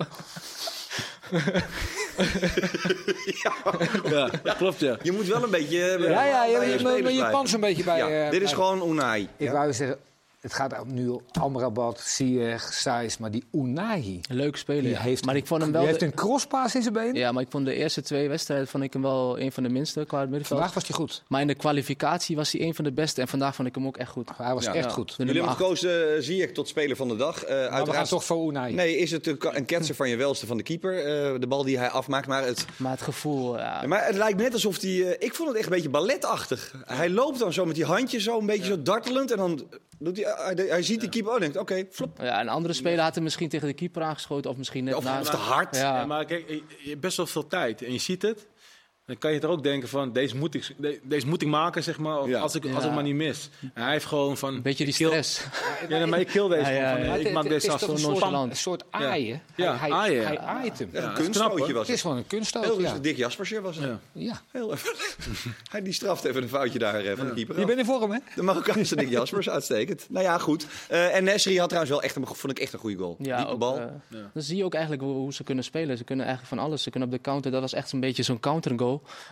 [SPEAKER 3] Ja, klopt ja.
[SPEAKER 1] Je moet wel een beetje. eh,
[SPEAKER 2] Ja, ja,
[SPEAKER 1] bij
[SPEAKER 2] je, je,
[SPEAKER 1] spelers
[SPEAKER 2] je, je
[SPEAKER 1] blijven.
[SPEAKER 2] pans een beetje bij...
[SPEAKER 1] Ja,
[SPEAKER 2] eh,
[SPEAKER 1] dit is
[SPEAKER 2] bij-
[SPEAKER 1] gewoon Unai.
[SPEAKER 2] Ik
[SPEAKER 1] Ja.
[SPEAKER 2] wou zeggen, het gaat nu om Amrabat, Ziyech, Saiz, maar die Unahi...
[SPEAKER 4] Leuk speler.
[SPEAKER 2] Die
[SPEAKER 4] ja.
[SPEAKER 2] heeft,
[SPEAKER 4] maar ik vond hem
[SPEAKER 2] die
[SPEAKER 4] wel.
[SPEAKER 2] heeft
[SPEAKER 4] de-
[SPEAKER 2] een crosspaas in zijn been.
[SPEAKER 4] Ja, maar ik vond de eerste twee wedstrijden vond ik hem wel een van de minste qua het middenveld.
[SPEAKER 2] Vandaag was hij goed.
[SPEAKER 4] Maar in de kwalificatie was hij een van de beste. En vandaag vond ik hem ook echt goed.
[SPEAKER 2] Hij was
[SPEAKER 1] Ja.
[SPEAKER 2] echt
[SPEAKER 4] Ja.
[SPEAKER 2] goed.
[SPEAKER 4] De
[SPEAKER 1] Jullie
[SPEAKER 4] nummer
[SPEAKER 1] hebben
[SPEAKER 4] 8.
[SPEAKER 1] gekozen, eh, zie ik, tot speler van de dag. Eh,
[SPEAKER 2] Maar we gaan
[SPEAKER 1] uiteraard.
[SPEAKER 2] toch voor Unai.
[SPEAKER 1] Nee, is het een, ka- een ketser van je welste van de keeper? eh, de bal die hij afmaakt. Maar het,
[SPEAKER 4] Maar het gevoel. Ja.
[SPEAKER 1] maar het lijkt net alsof hij. eh, ik vond het echt een beetje balletachtig. Hij loopt dan zo met die handjes zo een beetje zo dartelend. En dan doet hij. hij, hij ziet die keeper. Oh, denkt oké, flop.
[SPEAKER 4] Ja, een andere speler had hem misschien tegen de keeper aangeschoten. Of misschien net
[SPEAKER 2] Nou,
[SPEAKER 1] Of,
[SPEAKER 4] na-
[SPEAKER 1] of te hard.
[SPEAKER 4] Ja.
[SPEAKER 3] Ja, maar kijk, je je hebt best wel veel tijd en je ziet het. Dan kan je er ook denken van, deze moet ik, de- deze moet ik maken, zeg maar, of
[SPEAKER 1] Ja.
[SPEAKER 3] als, ik, als
[SPEAKER 4] Ja.
[SPEAKER 3] ik maar niet mis. En hij heeft gewoon van...
[SPEAKER 4] Een beetje die
[SPEAKER 3] ik kill-
[SPEAKER 4] stress.
[SPEAKER 3] Ja, nee, maar ik kill deze
[SPEAKER 4] Ja, ja,
[SPEAKER 3] gewoon
[SPEAKER 4] ja.
[SPEAKER 3] van,
[SPEAKER 2] Maar
[SPEAKER 3] eh,
[SPEAKER 2] het-
[SPEAKER 3] ik maak
[SPEAKER 2] het is
[SPEAKER 3] deze af.
[SPEAKER 2] toch
[SPEAKER 3] zo
[SPEAKER 2] een
[SPEAKER 4] zo
[SPEAKER 2] soort,
[SPEAKER 4] nonchalant.
[SPEAKER 2] een soort aaien.
[SPEAKER 3] Ja,
[SPEAKER 2] hij,
[SPEAKER 3] aaien.
[SPEAKER 2] Hij aait hem.
[SPEAKER 1] Echt een
[SPEAKER 3] Ja,
[SPEAKER 1] kunststootje
[SPEAKER 3] knap, hoor.
[SPEAKER 1] was
[SPEAKER 2] Het is
[SPEAKER 1] het.
[SPEAKER 2] gewoon een kunststoot.
[SPEAKER 1] Heel
[SPEAKER 2] Ja.
[SPEAKER 1] Dik Jasperser was het.
[SPEAKER 3] Ja.
[SPEAKER 2] Ja.
[SPEAKER 1] Heel even. Hij die straft even een foutje daar eh, van de keeper.
[SPEAKER 2] Je
[SPEAKER 1] af.
[SPEAKER 2] bent in vorm, hè?
[SPEAKER 1] De Marokkaanse Nick Jaspers, uitstekend. Nou ja, goed. Eh, en Nesri had trouwens wel echt een, vond ik echt een goede goal.
[SPEAKER 4] Ja,
[SPEAKER 1] Diepe
[SPEAKER 4] ook,
[SPEAKER 1] bal.
[SPEAKER 4] eh, Dan zie je ook eigenlijk hoe, hoe ze kunnen spelen. Ze kunnen eigenlijk van alles. Ze kunnen op de counter. Dat was echt een beetje zo'n counter-goal.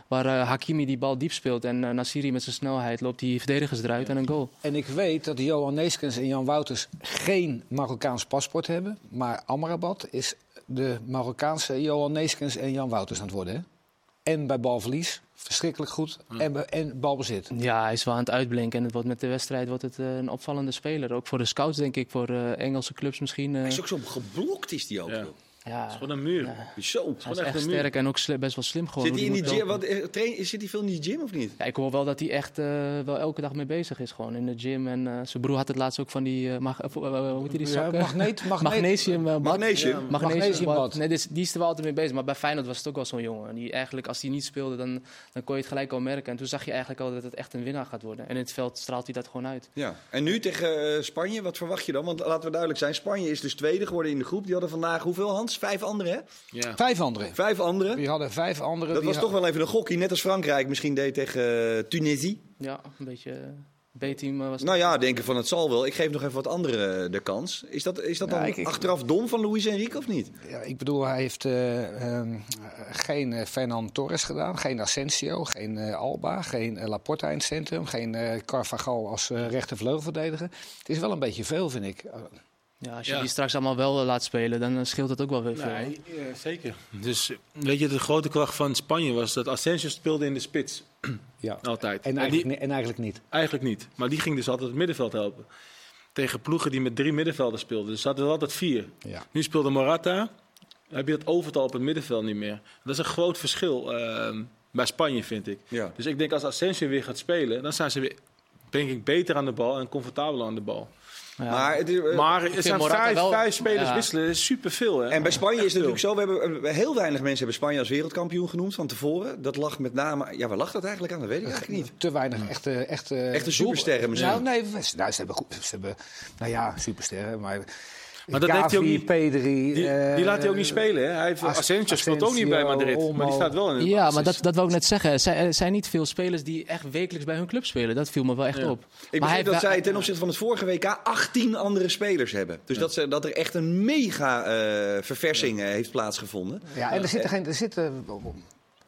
[SPEAKER 4] Waar eh, Hakimi die bal diep speelt. En eh, Nasiri met zijn snelheid loopt die verdedigers eruit. En een goal.
[SPEAKER 2] En ik weet dat Johan Neeskens en Jan Wouters geen Marokkaans paspoort hebben. Maar Amrabat is de Marokkaanse Johan Neeskens en Jan Wouters aan het worden. Hè? En bij balverlies, verschrikkelijk goed.
[SPEAKER 4] Hmm.
[SPEAKER 2] En, bij- en balbezit.
[SPEAKER 4] Ja, hij is wel aan het uitblinken. En het wordt met de wedstrijd wordt het eh, een opvallende speler. Ook voor de scouts, denk ik. Voor eh, Engelse clubs misschien. eh.
[SPEAKER 1] Hij is ook zo geblokt, is die ook.
[SPEAKER 3] Ja.
[SPEAKER 1] joh.
[SPEAKER 4] ja,
[SPEAKER 3] Gewoon een muur.
[SPEAKER 1] Zo.
[SPEAKER 4] hij
[SPEAKER 3] gewoon echt
[SPEAKER 4] is echt
[SPEAKER 3] een muur.
[SPEAKER 4] sterk en ook sli- best wel slim gewoon.
[SPEAKER 1] Zit hij
[SPEAKER 4] hoe
[SPEAKER 1] in die
[SPEAKER 4] moet
[SPEAKER 1] gym?
[SPEAKER 4] lopen.
[SPEAKER 1] Wat, eh, train, zit hij veel in die gym of niet?
[SPEAKER 4] Ja, ik hoor wel dat hij echt eh, wel elke dag mee bezig is. Gewoon in de gym. En eh, zijn broer had het laatst ook van die... eh, mag, eh, hoe heet die
[SPEAKER 2] Ja,
[SPEAKER 4] zak?
[SPEAKER 2] magneet, magneet.
[SPEAKER 4] Magnesium. eh, bad.
[SPEAKER 1] Magnesium.
[SPEAKER 4] Magnesiumbad.
[SPEAKER 2] Magnesiumbad.
[SPEAKER 4] Nee, dus, die is er wel altijd mee bezig. Maar bij Feyenoord was het ook wel zo'n jongen. Die eigenlijk, als hij niet speelde, dan, dan kon je het gelijk al merken. En toen zag je eigenlijk al dat het echt een winnaar gaat worden. En in het veld straalt hij dat gewoon uit.
[SPEAKER 1] Ja. En nu tegen eh, Spanje, wat verwacht je dan? Want laten we duidelijk zijn, Spanje is dus tweede geworden in de groep. Die hadden vandaag hoeveel, Hans? Vijf anderen, hè?
[SPEAKER 3] Ja.
[SPEAKER 2] Vijf anderen.
[SPEAKER 1] Vijf anderen.
[SPEAKER 2] Die hadden vijf anderen.
[SPEAKER 1] Dat
[SPEAKER 2] die
[SPEAKER 1] was toch
[SPEAKER 2] hadden-
[SPEAKER 1] wel even een gokkie, net als Frankrijk misschien deed tegen eh, Tunesië.
[SPEAKER 4] Ja, een beetje eh, B-team eh, was het.
[SPEAKER 1] Nou ja, denken van het zal wel. Ik geef nog even wat anderen eh, de kans. Is dat, is dat
[SPEAKER 2] Ja,
[SPEAKER 1] dan
[SPEAKER 2] ik- ik-
[SPEAKER 1] achteraf dom van Luis Enrique of niet?
[SPEAKER 2] Ja, ik bedoel, hij heeft eh, ehm, geen eh, Fernand Torres gedaan, geen Asensio, geen eh, Alba, geen eh, Laporta in het centrum, geen eh Carvajal als eh rechtervleugelverdediger. Het is wel een beetje veel, vind ik. Eh,
[SPEAKER 4] Ja, als je
[SPEAKER 3] Ja.
[SPEAKER 4] die straks allemaal wel eh, laat spelen, dan eh, scheelt dat ook wel weer veel. hè?
[SPEAKER 3] Nee, eh, zeker. Dus eh, weet je, de grote kracht van Spanje was dat Asensio speelde in de spits.
[SPEAKER 2] ja.
[SPEAKER 3] Altijd.
[SPEAKER 2] En,
[SPEAKER 3] die-
[SPEAKER 2] eigenlijk, ni- en eigenlijk niet.
[SPEAKER 3] Eigenlijk niet. Maar die ging dus altijd het middenveld helpen. Tegen ploegen die met drie middenvelden speelden. Dus ze hadden er altijd vier.
[SPEAKER 2] Ja.
[SPEAKER 3] Nu speelde Morata. Dan heb je dat overtal op het middenveld niet meer. Dat is een groot verschil ehm, bij Spanje, vind ik.
[SPEAKER 1] Ja.
[SPEAKER 3] Dus ik denk als Asensio weer gaat spelen, dan zijn ze weer, denk ik, beter aan de bal en comfortabeler aan de bal.
[SPEAKER 4] Ja.
[SPEAKER 1] Maar, het is, eh,
[SPEAKER 3] maar er
[SPEAKER 4] vind
[SPEAKER 3] zijn
[SPEAKER 4] Morata
[SPEAKER 3] vijf,
[SPEAKER 4] wel-
[SPEAKER 3] vijf spelers
[SPEAKER 4] ja.
[SPEAKER 3] wisselen, dat is superveel. Hè?
[SPEAKER 1] En bij Spanje is het natuurlijk zo, we hebben, eh, heel weinig mensen hebben Spanje als wereldkampioen genoemd van tevoren. Dat lag met name, ja waar lag dat eigenlijk aan? Dat weet ik eigenlijk niet.
[SPEAKER 2] Te weinig echte... echte
[SPEAKER 1] Echte
[SPEAKER 2] doel-
[SPEAKER 1] supersterren misschien.
[SPEAKER 2] Nou, nee, we- nou, ze hebben goed... Ze hebben, nou ja, supersterren, maar...
[SPEAKER 3] Maar dat heeft hij ook niet-
[SPEAKER 2] P3...
[SPEAKER 3] die, die laat hij ook niet spelen. Hè? Hij heeft,
[SPEAKER 2] eh, As-
[SPEAKER 3] Asensio speelt ook niet bij
[SPEAKER 2] Asensio,
[SPEAKER 3] Madrid, maar
[SPEAKER 2] Olmo.
[SPEAKER 3] die staat wel in de
[SPEAKER 4] Ja,
[SPEAKER 3] basis.
[SPEAKER 4] maar dat, dat wou ik net zeggen. Er zijn- Er zijn niet veel spelers die echt wekelijks bij hun club spelen. Dat viel me wel echt op.
[SPEAKER 1] Ik begreep
[SPEAKER 4] maar
[SPEAKER 1] dat
[SPEAKER 4] heeft wel-
[SPEAKER 1] zij ten opzichte van het vorige WK 18 andere spelers hebben. Dus dat, ze, dat er echt een mega eh, verversing eh, heeft plaatsgevonden.
[SPEAKER 2] Ja, en er zitten geen. Er zitten,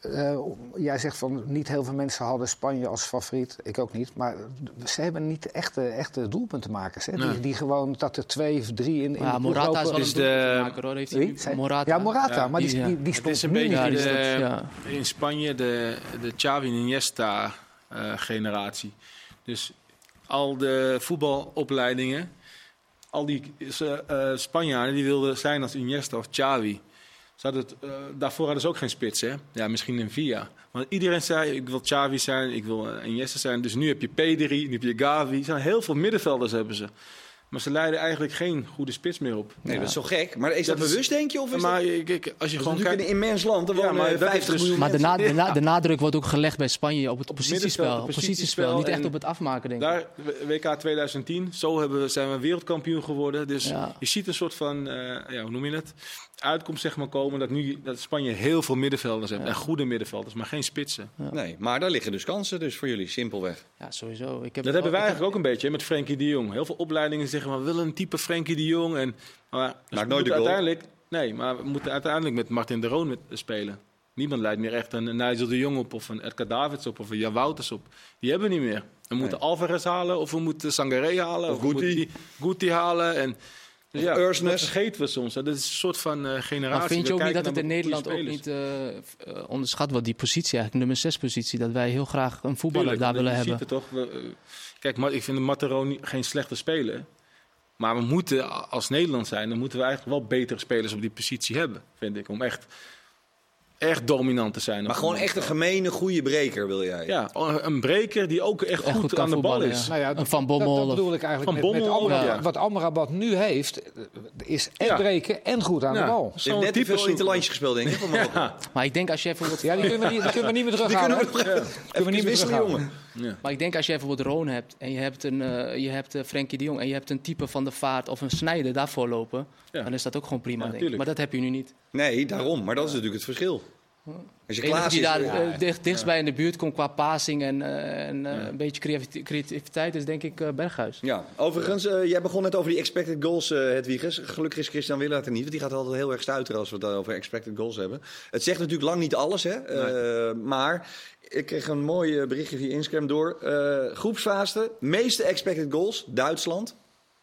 [SPEAKER 2] eh, jij zegt van niet heel veel mensen hadden Spanje als favoriet. Ik ook niet. Maar ze hebben niet echte, echte doelpuntenmakers. Hè? Die, die gewoon dat er twee of drie in, in
[SPEAKER 4] Ja,
[SPEAKER 2] de ploeg
[SPEAKER 4] Morata is
[SPEAKER 2] lopen.
[SPEAKER 4] wel
[SPEAKER 3] Dus
[SPEAKER 4] een
[SPEAKER 3] de-
[SPEAKER 4] doelpuntenmaker, hoor. Heeft hij
[SPEAKER 2] Wie?
[SPEAKER 4] nu-
[SPEAKER 2] Zij-
[SPEAKER 4] Morata.
[SPEAKER 2] Ja, Morata.
[SPEAKER 3] Ja,
[SPEAKER 2] maar die,
[SPEAKER 4] die- ja.
[SPEAKER 2] die, die,
[SPEAKER 3] Het is
[SPEAKER 2] speelt
[SPEAKER 3] een
[SPEAKER 2] nu
[SPEAKER 3] beetje
[SPEAKER 4] Ja,
[SPEAKER 2] niet.
[SPEAKER 4] die is
[SPEAKER 3] de,
[SPEAKER 4] dat, ja.
[SPEAKER 3] in Spanje de, de Xavi en Iniesta eh, generatie. Dus al de voetbalopleidingen, al die eh, eh, Spanjaarden die wilden zijn als Iniesta of Xavi. Ze hadden het, eh, daarvoor hadden ze ook geen spits, hè? Ja, misschien een Via. Want iedereen zei, ik wil Xavi zijn, ik wil eh, Iniesta zijn. Dus nu heb je Pedri, nu heb je Gavi. Er zijn heel veel middenvelders hebben ze. Maar ze leiden eigenlijk geen goede spits meer op.
[SPEAKER 1] Nee, dat is zo gek. Maar is dat,
[SPEAKER 3] Dat is-
[SPEAKER 1] bewust, denk je? Of is
[SPEAKER 3] Maar
[SPEAKER 1] dat...
[SPEAKER 3] ik, ik- als je
[SPEAKER 1] Het is
[SPEAKER 3] gewoon
[SPEAKER 1] natuurlijk
[SPEAKER 3] kijkt...
[SPEAKER 1] een immens land. Er
[SPEAKER 3] Ja,
[SPEAKER 1] wonen
[SPEAKER 3] maar dat is
[SPEAKER 1] 50
[SPEAKER 3] dus-
[SPEAKER 1] miljoen
[SPEAKER 4] Maar de,
[SPEAKER 1] mensen.
[SPEAKER 4] na- de, na- de nadruk wordt ook gelegd bij Spanje op het positiespel.
[SPEAKER 3] middenveld,
[SPEAKER 4] Op
[SPEAKER 3] op
[SPEAKER 4] positiespel, niet
[SPEAKER 3] positiespel
[SPEAKER 4] echt
[SPEAKER 3] en
[SPEAKER 4] op het afmaken, denk ik.
[SPEAKER 3] Daar, W- WK 2010, zo hebben we, zijn we wereldkampioen geworden. Dus
[SPEAKER 4] Ja.
[SPEAKER 3] je ziet een soort van, eh, ja, hoe noem je dat? Uitkomst zeg maar komen dat nu dat Spanje heel veel middenvelders heeft.
[SPEAKER 4] Ja.
[SPEAKER 3] En goede middenvelders, maar geen spitsen.
[SPEAKER 1] Nee, maar daar liggen dus kansen dus voor jullie, simpelweg.
[SPEAKER 4] Ja, sowieso. Ik heb
[SPEAKER 3] Dat hebben wij
[SPEAKER 4] ik heb-
[SPEAKER 3] eigenlijk ook een beetje hè, met Frenkie de Jong. Heel veel opleidingen zeggen, we willen een type Frenkie de Jong. En, maar dus we
[SPEAKER 1] nooit
[SPEAKER 3] moeten
[SPEAKER 1] de goal.
[SPEAKER 3] Uiteindelijk, nee, maar we moeten uiteindelijk met Martin de Roon met- spelen. Niemand leidt meer echt een Nigel de Jong op of een Edgar Davids op of een Jan Wouters op. Die hebben we niet meer. We moeten Alvarez halen of we moeten Sangaré halen.
[SPEAKER 1] Of
[SPEAKER 3] we moeten
[SPEAKER 1] Guti.
[SPEAKER 3] die- Guti halen. En, dus
[SPEAKER 1] Of
[SPEAKER 3] ja,
[SPEAKER 1] Ursnes.
[SPEAKER 3] dat vergeten we soms. hè. Dat is een soort van eh, generatie.
[SPEAKER 4] Maar vind je
[SPEAKER 3] We
[SPEAKER 4] ook niet
[SPEAKER 3] kijken
[SPEAKER 4] dat het
[SPEAKER 3] naar
[SPEAKER 4] in
[SPEAKER 3] goede
[SPEAKER 4] Nederland ook
[SPEAKER 3] spelers.
[SPEAKER 4] niet eh, f- eh, onderschat wordt, die positie eigenlijk, nummer 6 positie, dat wij heel graag een voetballer
[SPEAKER 3] Tuurlijk, want
[SPEAKER 4] daar willen
[SPEAKER 3] je
[SPEAKER 4] hebben.
[SPEAKER 3] ziet het toch. We, eh, kijk, Ma- ik vind Mattero niet- geen slechte speler. Maar we moeten a- als Nederland zijn, dan moeten we eigenlijk wel betere spelers op die positie hebben, vind ik. Om echt, echt dominant te zijn.
[SPEAKER 1] Maar
[SPEAKER 3] Op
[SPEAKER 1] gewoon
[SPEAKER 3] een-
[SPEAKER 1] echt een gemene, goede breker wil jij.
[SPEAKER 3] Ja, een een breker die ook echt,
[SPEAKER 4] Echt
[SPEAKER 3] goed,
[SPEAKER 4] goed kan
[SPEAKER 3] aan de bal
[SPEAKER 4] voetballen,
[SPEAKER 3] is.
[SPEAKER 4] ja. Een
[SPEAKER 2] Nou dat-
[SPEAKER 4] Van Bommel
[SPEAKER 2] Dat,
[SPEAKER 4] of-
[SPEAKER 2] bedoel ik eigenlijk
[SPEAKER 3] Van
[SPEAKER 2] met, met
[SPEAKER 3] Bommel ook,
[SPEAKER 2] Amrabat.
[SPEAKER 3] ja.
[SPEAKER 2] Wat Amrabat nu heeft, eh, is en
[SPEAKER 3] Ja.
[SPEAKER 2] breken en goed aan
[SPEAKER 3] Ja,
[SPEAKER 2] de bal.
[SPEAKER 1] Ze
[SPEAKER 3] zo'n
[SPEAKER 1] heeft net te
[SPEAKER 3] type
[SPEAKER 1] veel
[SPEAKER 3] zoeken.
[SPEAKER 1] interlandjes gespeeld, denk ik. van Marokko.
[SPEAKER 3] Ja,
[SPEAKER 4] Maar ik denk als jij bijvoorbeeld,
[SPEAKER 2] Ja, die kunnen we niet, die kunnen we niet meer terughalen. hè?
[SPEAKER 1] Even
[SPEAKER 2] niet
[SPEAKER 1] niet
[SPEAKER 2] meer
[SPEAKER 1] wisselen,
[SPEAKER 2] terughalen.
[SPEAKER 1] jongen.
[SPEAKER 4] maar ik denk als jij bijvoorbeeld Roon hebt en je hebt, een, eh, je hebt eh, Frenkie de Jong en je hebt een type van de vaart of een snijder daarvoor lopen,
[SPEAKER 3] Ja.
[SPEAKER 4] dan is dat ook gewoon prima.
[SPEAKER 3] Ja,
[SPEAKER 4] denk ik.
[SPEAKER 3] tuurlijk.
[SPEAKER 4] Maar dat heb je nu niet.
[SPEAKER 1] Nee, daarom. Maar dat is natuurlijk het verschil. Als je
[SPEAKER 4] De enige
[SPEAKER 1] Klaas
[SPEAKER 4] die
[SPEAKER 1] is...
[SPEAKER 4] daar
[SPEAKER 1] Ja.
[SPEAKER 4] eh, dicht, dichtst bij in de buurt komt qua passing en, eh, en eh, een beetje creativit- creativiteit is denk ik eh, Berghuis.
[SPEAKER 1] Ja, overigens, eh, jij begon net over die expected goals, eh Hedwiges. Gelukkig is Christian Willaert er niet, want die gaat altijd heel erg stuiteren als we het over expected goals hebben. Het zegt natuurlijk lang niet alles, hè. Eh, maar ik kreeg een mooi eh, berichtje via Instagram door. Eh groepsfase, meeste expected goals, Duitsland.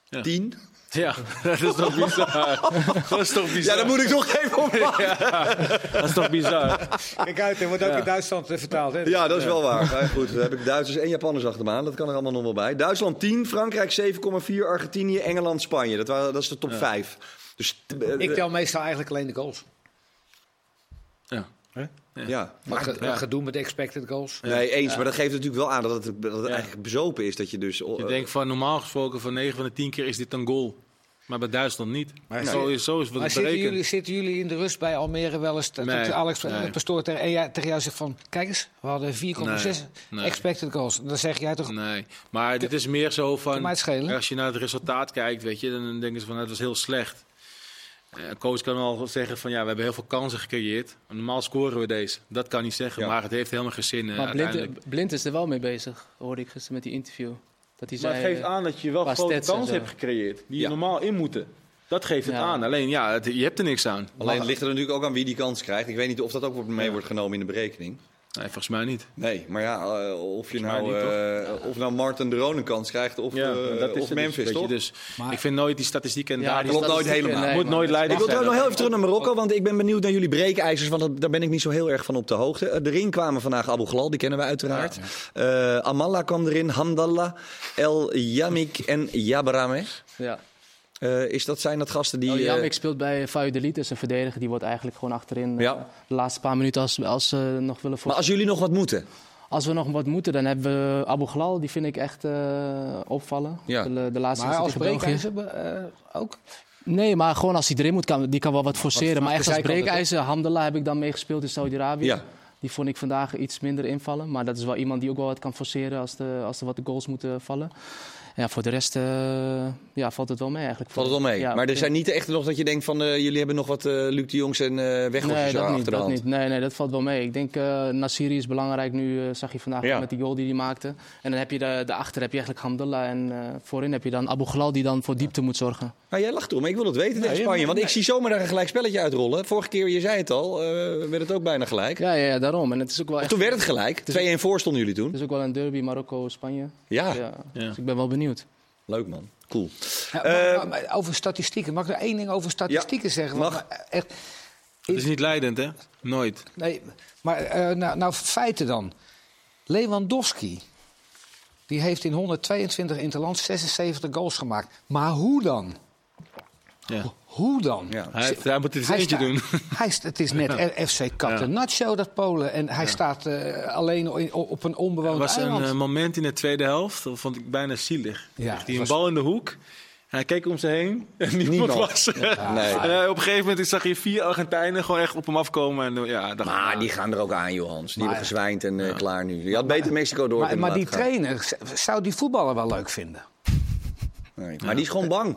[SPEAKER 3] Ja.
[SPEAKER 1] 10.
[SPEAKER 3] ja, dat is toch bizar. dat is toch
[SPEAKER 1] Ja,
[SPEAKER 3] bizar.
[SPEAKER 1] daar moet ik toch even op wachten.
[SPEAKER 3] Dat is toch bizar.
[SPEAKER 2] Kijk uit, er wordt ook in Duitsland eh, vertaald. Hè?
[SPEAKER 1] Ja, dat is wel waar. Maar goed, daar heb ik Duitsers en Japanners achter me aan. Dat kan er allemaal nog wel bij. Duitsland 10, Frankrijk 7,4, Argentinië, Engeland, Spanje. Dat, waren, dat is de top 5. Dus, eh,
[SPEAKER 2] Ik tel meestal eigenlijk alleen de goals.
[SPEAKER 3] Ja.
[SPEAKER 1] eh, ja.
[SPEAKER 2] Maar ge-
[SPEAKER 3] ja.
[SPEAKER 2] gedoe met expected goals.
[SPEAKER 1] Nee, eens. Maar dat geeft natuurlijk wel aan dat het, dat het eigenlijk bezopen is. Dat je dus...
[SPEAKER 3] Je denkt van normaal gesproken van 9 van de 10 keer is dit een goal. Maar bij Duitsland niet.
[SPEAKER 2] Maar
[SPEAKER 3] zo, is, zo is wat
[SPEAKER 2] Maar
[SPEAKER 3] het
[SPEAKER 2] zitten
[SPEAKER 3] berekend.
[SPEAKER 2] jullie, zitten jullie in de rust bij Almere wel eens? Dat
[SPEAKER 3] Nee,
[SPEAKER 2] dat Alex
[SPEAKER 3] nee.
[SPEAKER 2] eh, Pastoor ter- en jij- tegen jou zegt van... Kijk eens, we hadden 4,6
[SPEAKER 3] nee.
[SPEAKER 2] expected goals. Dan zeg jij toch...
[SPEAKER 3] Nee, maar dit is meer zo
[SPEAKER 2] Kan mij
[SPEAKER 3] van...
[SPEAKER 2] het schelen.
[SPEAKER 3] Als je naar het resultaat kijkt, weet je, dan denken ze van het was heel slecht. Eh, Een coach kan al zeggen van ja, we hebben heel veel kansen gecreëerd. Normaal scoren we deze. Dat kan niet zeggen,
[SPEAKER 1] Ja.
[SPEAKER 3] maar het heeft helemaal geen zin eh,
[SPEAKER 4] Maar
[SPEAKER 3] uiteindelijk.
[SPEAKER 4] Blind, Blind is er wel mee bezig, hoorde ik gisteren met die interview. Dat hij
[SPEAKER 3] Maar het
[SPEAKER 4] zei, eh,
[SPEAKER 3] geeft aan dat je wel
[SPEAKER 4] qua
[SPEAKER 3] grote
[SPEAKER 4] stats en
[SPEAKER 3] kansen
[SPEAKER 4] zo.
[SPEAKER 3] hebt gecreëerd. Die
[SPEAKER 1] Ja.
[SPEAKER 3] je normaal in moeten. Dat geeft het
[SPEAKER 4] Ja.
[SPEAKER 3] aan. Alleen ja, het- je hebt er niks aan.
[SPEAKER 1] Alleen het ligt er natuurlijk ook aan wie die kans krijgt. Ik weet niet of dat ook mee wordt genomen in de berekening.
[SPEAKER 3] Nee, volgens mij niet.
[SPEAKER 1] Nee, maar ja, eh, of, je
[SPEAKER 3] Volgens mij
[SPEAKER 1] nou,
[SPEAKER 3] niet,
[SPEAKER 1] eh, of nou Martin de Roon een kans krijgt of,
[SPEAKER 3] Ja,
[SPEAKER 1] eh,
[SPEAKER 3] dat is
[SPEAKER 1] of
[SPEAKER 3] het dus,
[SPEAKER 1] Memphis,
[SPEAKER 3] weet je.
[SPEAKER 1] toch?
[SPEAKER 3] Dus
[SPEAKER 2] Maar-
[SPEAKER 3] ik vind nooit die statistieken en
[SPEAKER 4] eh,
[SPEAKER 3] daar
[SPEAKER 4] die
[SPEAKER 1] klopt nooit
[SPEAKER 4] statistieken,
[SPEAKER 1] helemaal.
[SPEAKER 3] moet
[SPEAKER 4] maar-
[SPEAKER 3] nooit
[SPEAKER 1] Ik
[SPEAKER 3] leidend
[SPEAKER 1] wil
[SPEAKER 3] zijn.
[SPEAKER 1] trouwens nog heel even terug naar Marokko, want ik ben benieuwd naar jullie breekijzers, want dat- daar ben ik niet zo heel erg van op de hoogte. Eh, Erin kwamen vandaag Abu Ghlal, die kennen we uiteraard. Eh, Amalla kwam erin, Hamdallah, El Yamik en Jabrameh.
[SPEAKER 4] Ja.
[SPEAKER 1] Eh, is dat, zijn dat gasten die...
[SPEAKER 4] El
[SPEAKER 1] eh,
[SPEAKER 4] Jamik Oh, speelt bij Valladolid, is een verdediger. Die wordt eigenlijk gewoon achterin eh,
[SPEAKER 1] Ja.
[SPEAKER 4] de laatste paar minuten als, als ze nog willen voor...
[SPEAKER 1] maar als jullie nog wat moeten,
[SPEAKER 4] Als we nog wat moeten, dan hebben we Abu Ghlal. Die vind ik echt eh, opvallen.
[SPEAKER 1] Ja.
[SPEAKER 4] De, de laatste
[SPEAKER 2] Maar als
[SPEAKER 4] wedstrijd tegen België.
[SPEAKER 2] breekijzer eh, ook?
[SPEAKER 4] Nee, maar gewoon als hij erin moet, kan, die kan wel wat forceren.
[SPEAKER 2] vanaf
[SPEAKER 4] Maar echt
[SPEAKER 2] de
[SPEAKER 4] als
[SPEAKER 2] zijkant,
[SPEAKER 4] breekijzer, Hamdallah heb ik dan meegespeeld in Saudi-Arabië.
[SPEAKER 1] Ja.
[SPEAKER 4] Die vond ik vandaag iets minder invallen. Maar dat is wel iemand die ook wel wat kan forceren als, de, als er wat goals moeten vallen. En ja, voor de rest eh, ja, valt het wel mee eigenlijk.
[SPEAKER 1] valt het wel mee.
[SPEAKER 4] Ja,
[SPEAKER 1] maar er
[SPEAKER 4] ik-
[SPEAKER 1] zijn niet echt nog dat je denkt van, eh, jullie hebben nog wat eh, Luc de Jongs en eh Weghorst
[SPEAKER 4] Nee,
[SPEAKER 1] zo
[SPEAKER 4] dat
[SPEAKER 1] achter
[SPEAKER 4] niet,
[SPEAKER 1] de
[SPEAKER 4] dat
[SPEAKER 1] hand.
[SPEAKER 4] niet. Nee, nee, dat valt wel mee. Ik denk, eh Nassiri is belangrijk nu, eh, zag je vandaag
[SPEAKER 1] Ja.
[SPEAKER 4] met die goal die hij maakte. En dan heb je de- daarachter heb je eigenlijk Hamdallah en eh, voorin heb je dan Abu Ghlal die dan voor diepte moet zorgen.
[SPEAKER 1] Maar jij lacht erom, maar ik wil het weten tegen
[SPEAKER 2] Nee,
[SPEAKER 1] Spanje,
[SPEAKER 2] maar-
[SPEAKER 1] want ik
[SPEAKER 2] nee.
[SPEAKER 1] zie zomaar daar een gelijk spelletje uitrollen. Vorige keer, je zei het al, eh, werd het ook bijna gelijk.
[SPEAKER 4] Ja, ja, ja, daarom. En het is ook wel
[SPEAKER 1] Maar
[SPEAKER 4] echt...
[SPEAKER 1] Toen werd het gelijk, 2-1 voor stonden jullie toen.
[SPEAKER 4] Het is ook wel een derby Marokko-Spanje.
[SPEAKER 1] Ja,
[SPEAKER 4] Ja.
[SPEAKER 3] Ja.
[SPEAKER 4] Dus ik ben wel benieuwd.
[SPEAKER 1] leuk man, cool.
[SPEAKER 2] Ja,
[SPEAKER 1] Eh,
[SPEAKER 2] maar- maar over statistieken. Mag ik er één ding over statistieken zeggen? Want
[SPEAKER 1] mag.
[SPEAKER 2] maar Echt,
[SPEAKER 3] Het is niet leidend, hè? Nooit.
[SPEAKER 2] nee, maar eh, nou, nou, feiten dan. Lewandowski, die heeft in 122 interlands 76 goals gemaakt. Maar hoe dan?
[SPEAKER 3] Ja.
[SPEAKER 2] Hoe dan?
[SPEAKER 1] Ja.
[SPEAKER 3] Hij, heeft- hij moet het eens
[SPEAKER 2] Hij
[SPEAKER 3] eentje
[SPEAKER 2] staat-
[SPEAKER 3] doen.
[SPEAKER 2] Hij is, het is net FC Catenaccio, dat Polen. En hij staat eh, alleen in- op een onbewoond
[SPEAKER 3] Er was een
[SPEAKER 2] eiland.
[SPEAKER 3] eh, moment in de tweede helft, dat vond ik bijna zielig.
[SPEAKER 2] Ja,
[SPEAKER 3] Kreeg
[SPEAKER 2] het
[SPEAKER 3] hij een
[SPEAKER 2] was-
[SPEAKER 3] bal in de hoek. Hij keek om zich heen en niemand,
[SPEAKER 1] Niemand.
[SPEAKER 3] was er.
[SPEAKER 1] Nee.
[SPEAKER 3] En eh, op een gegeven moment zag je vier Argentijnen gewoon echt op hem afkomen. En, eh, ja, dacht, ik,
[SPEAKER 1] Maar
[SPEAKER 3] ah,
[SPEAKER 1] die gaan er ook aan, Johans. Die
[SPEAKER 2] Maar-
[SPEAKER 1] hebben gezwijnd en eh, klaar nu. Je had beter Mexico door
[SPEAKER 2] Maar,
[SPEAKER 1] kunnen
[SPEAKER 2] maar die
[SPEAKER 1] laten gaan.
[SPEAKER 2] trainer, z- zou die voetballer wel leuk vinden?
[SPEAKER 1] Nee, Maar die is gewoon bang.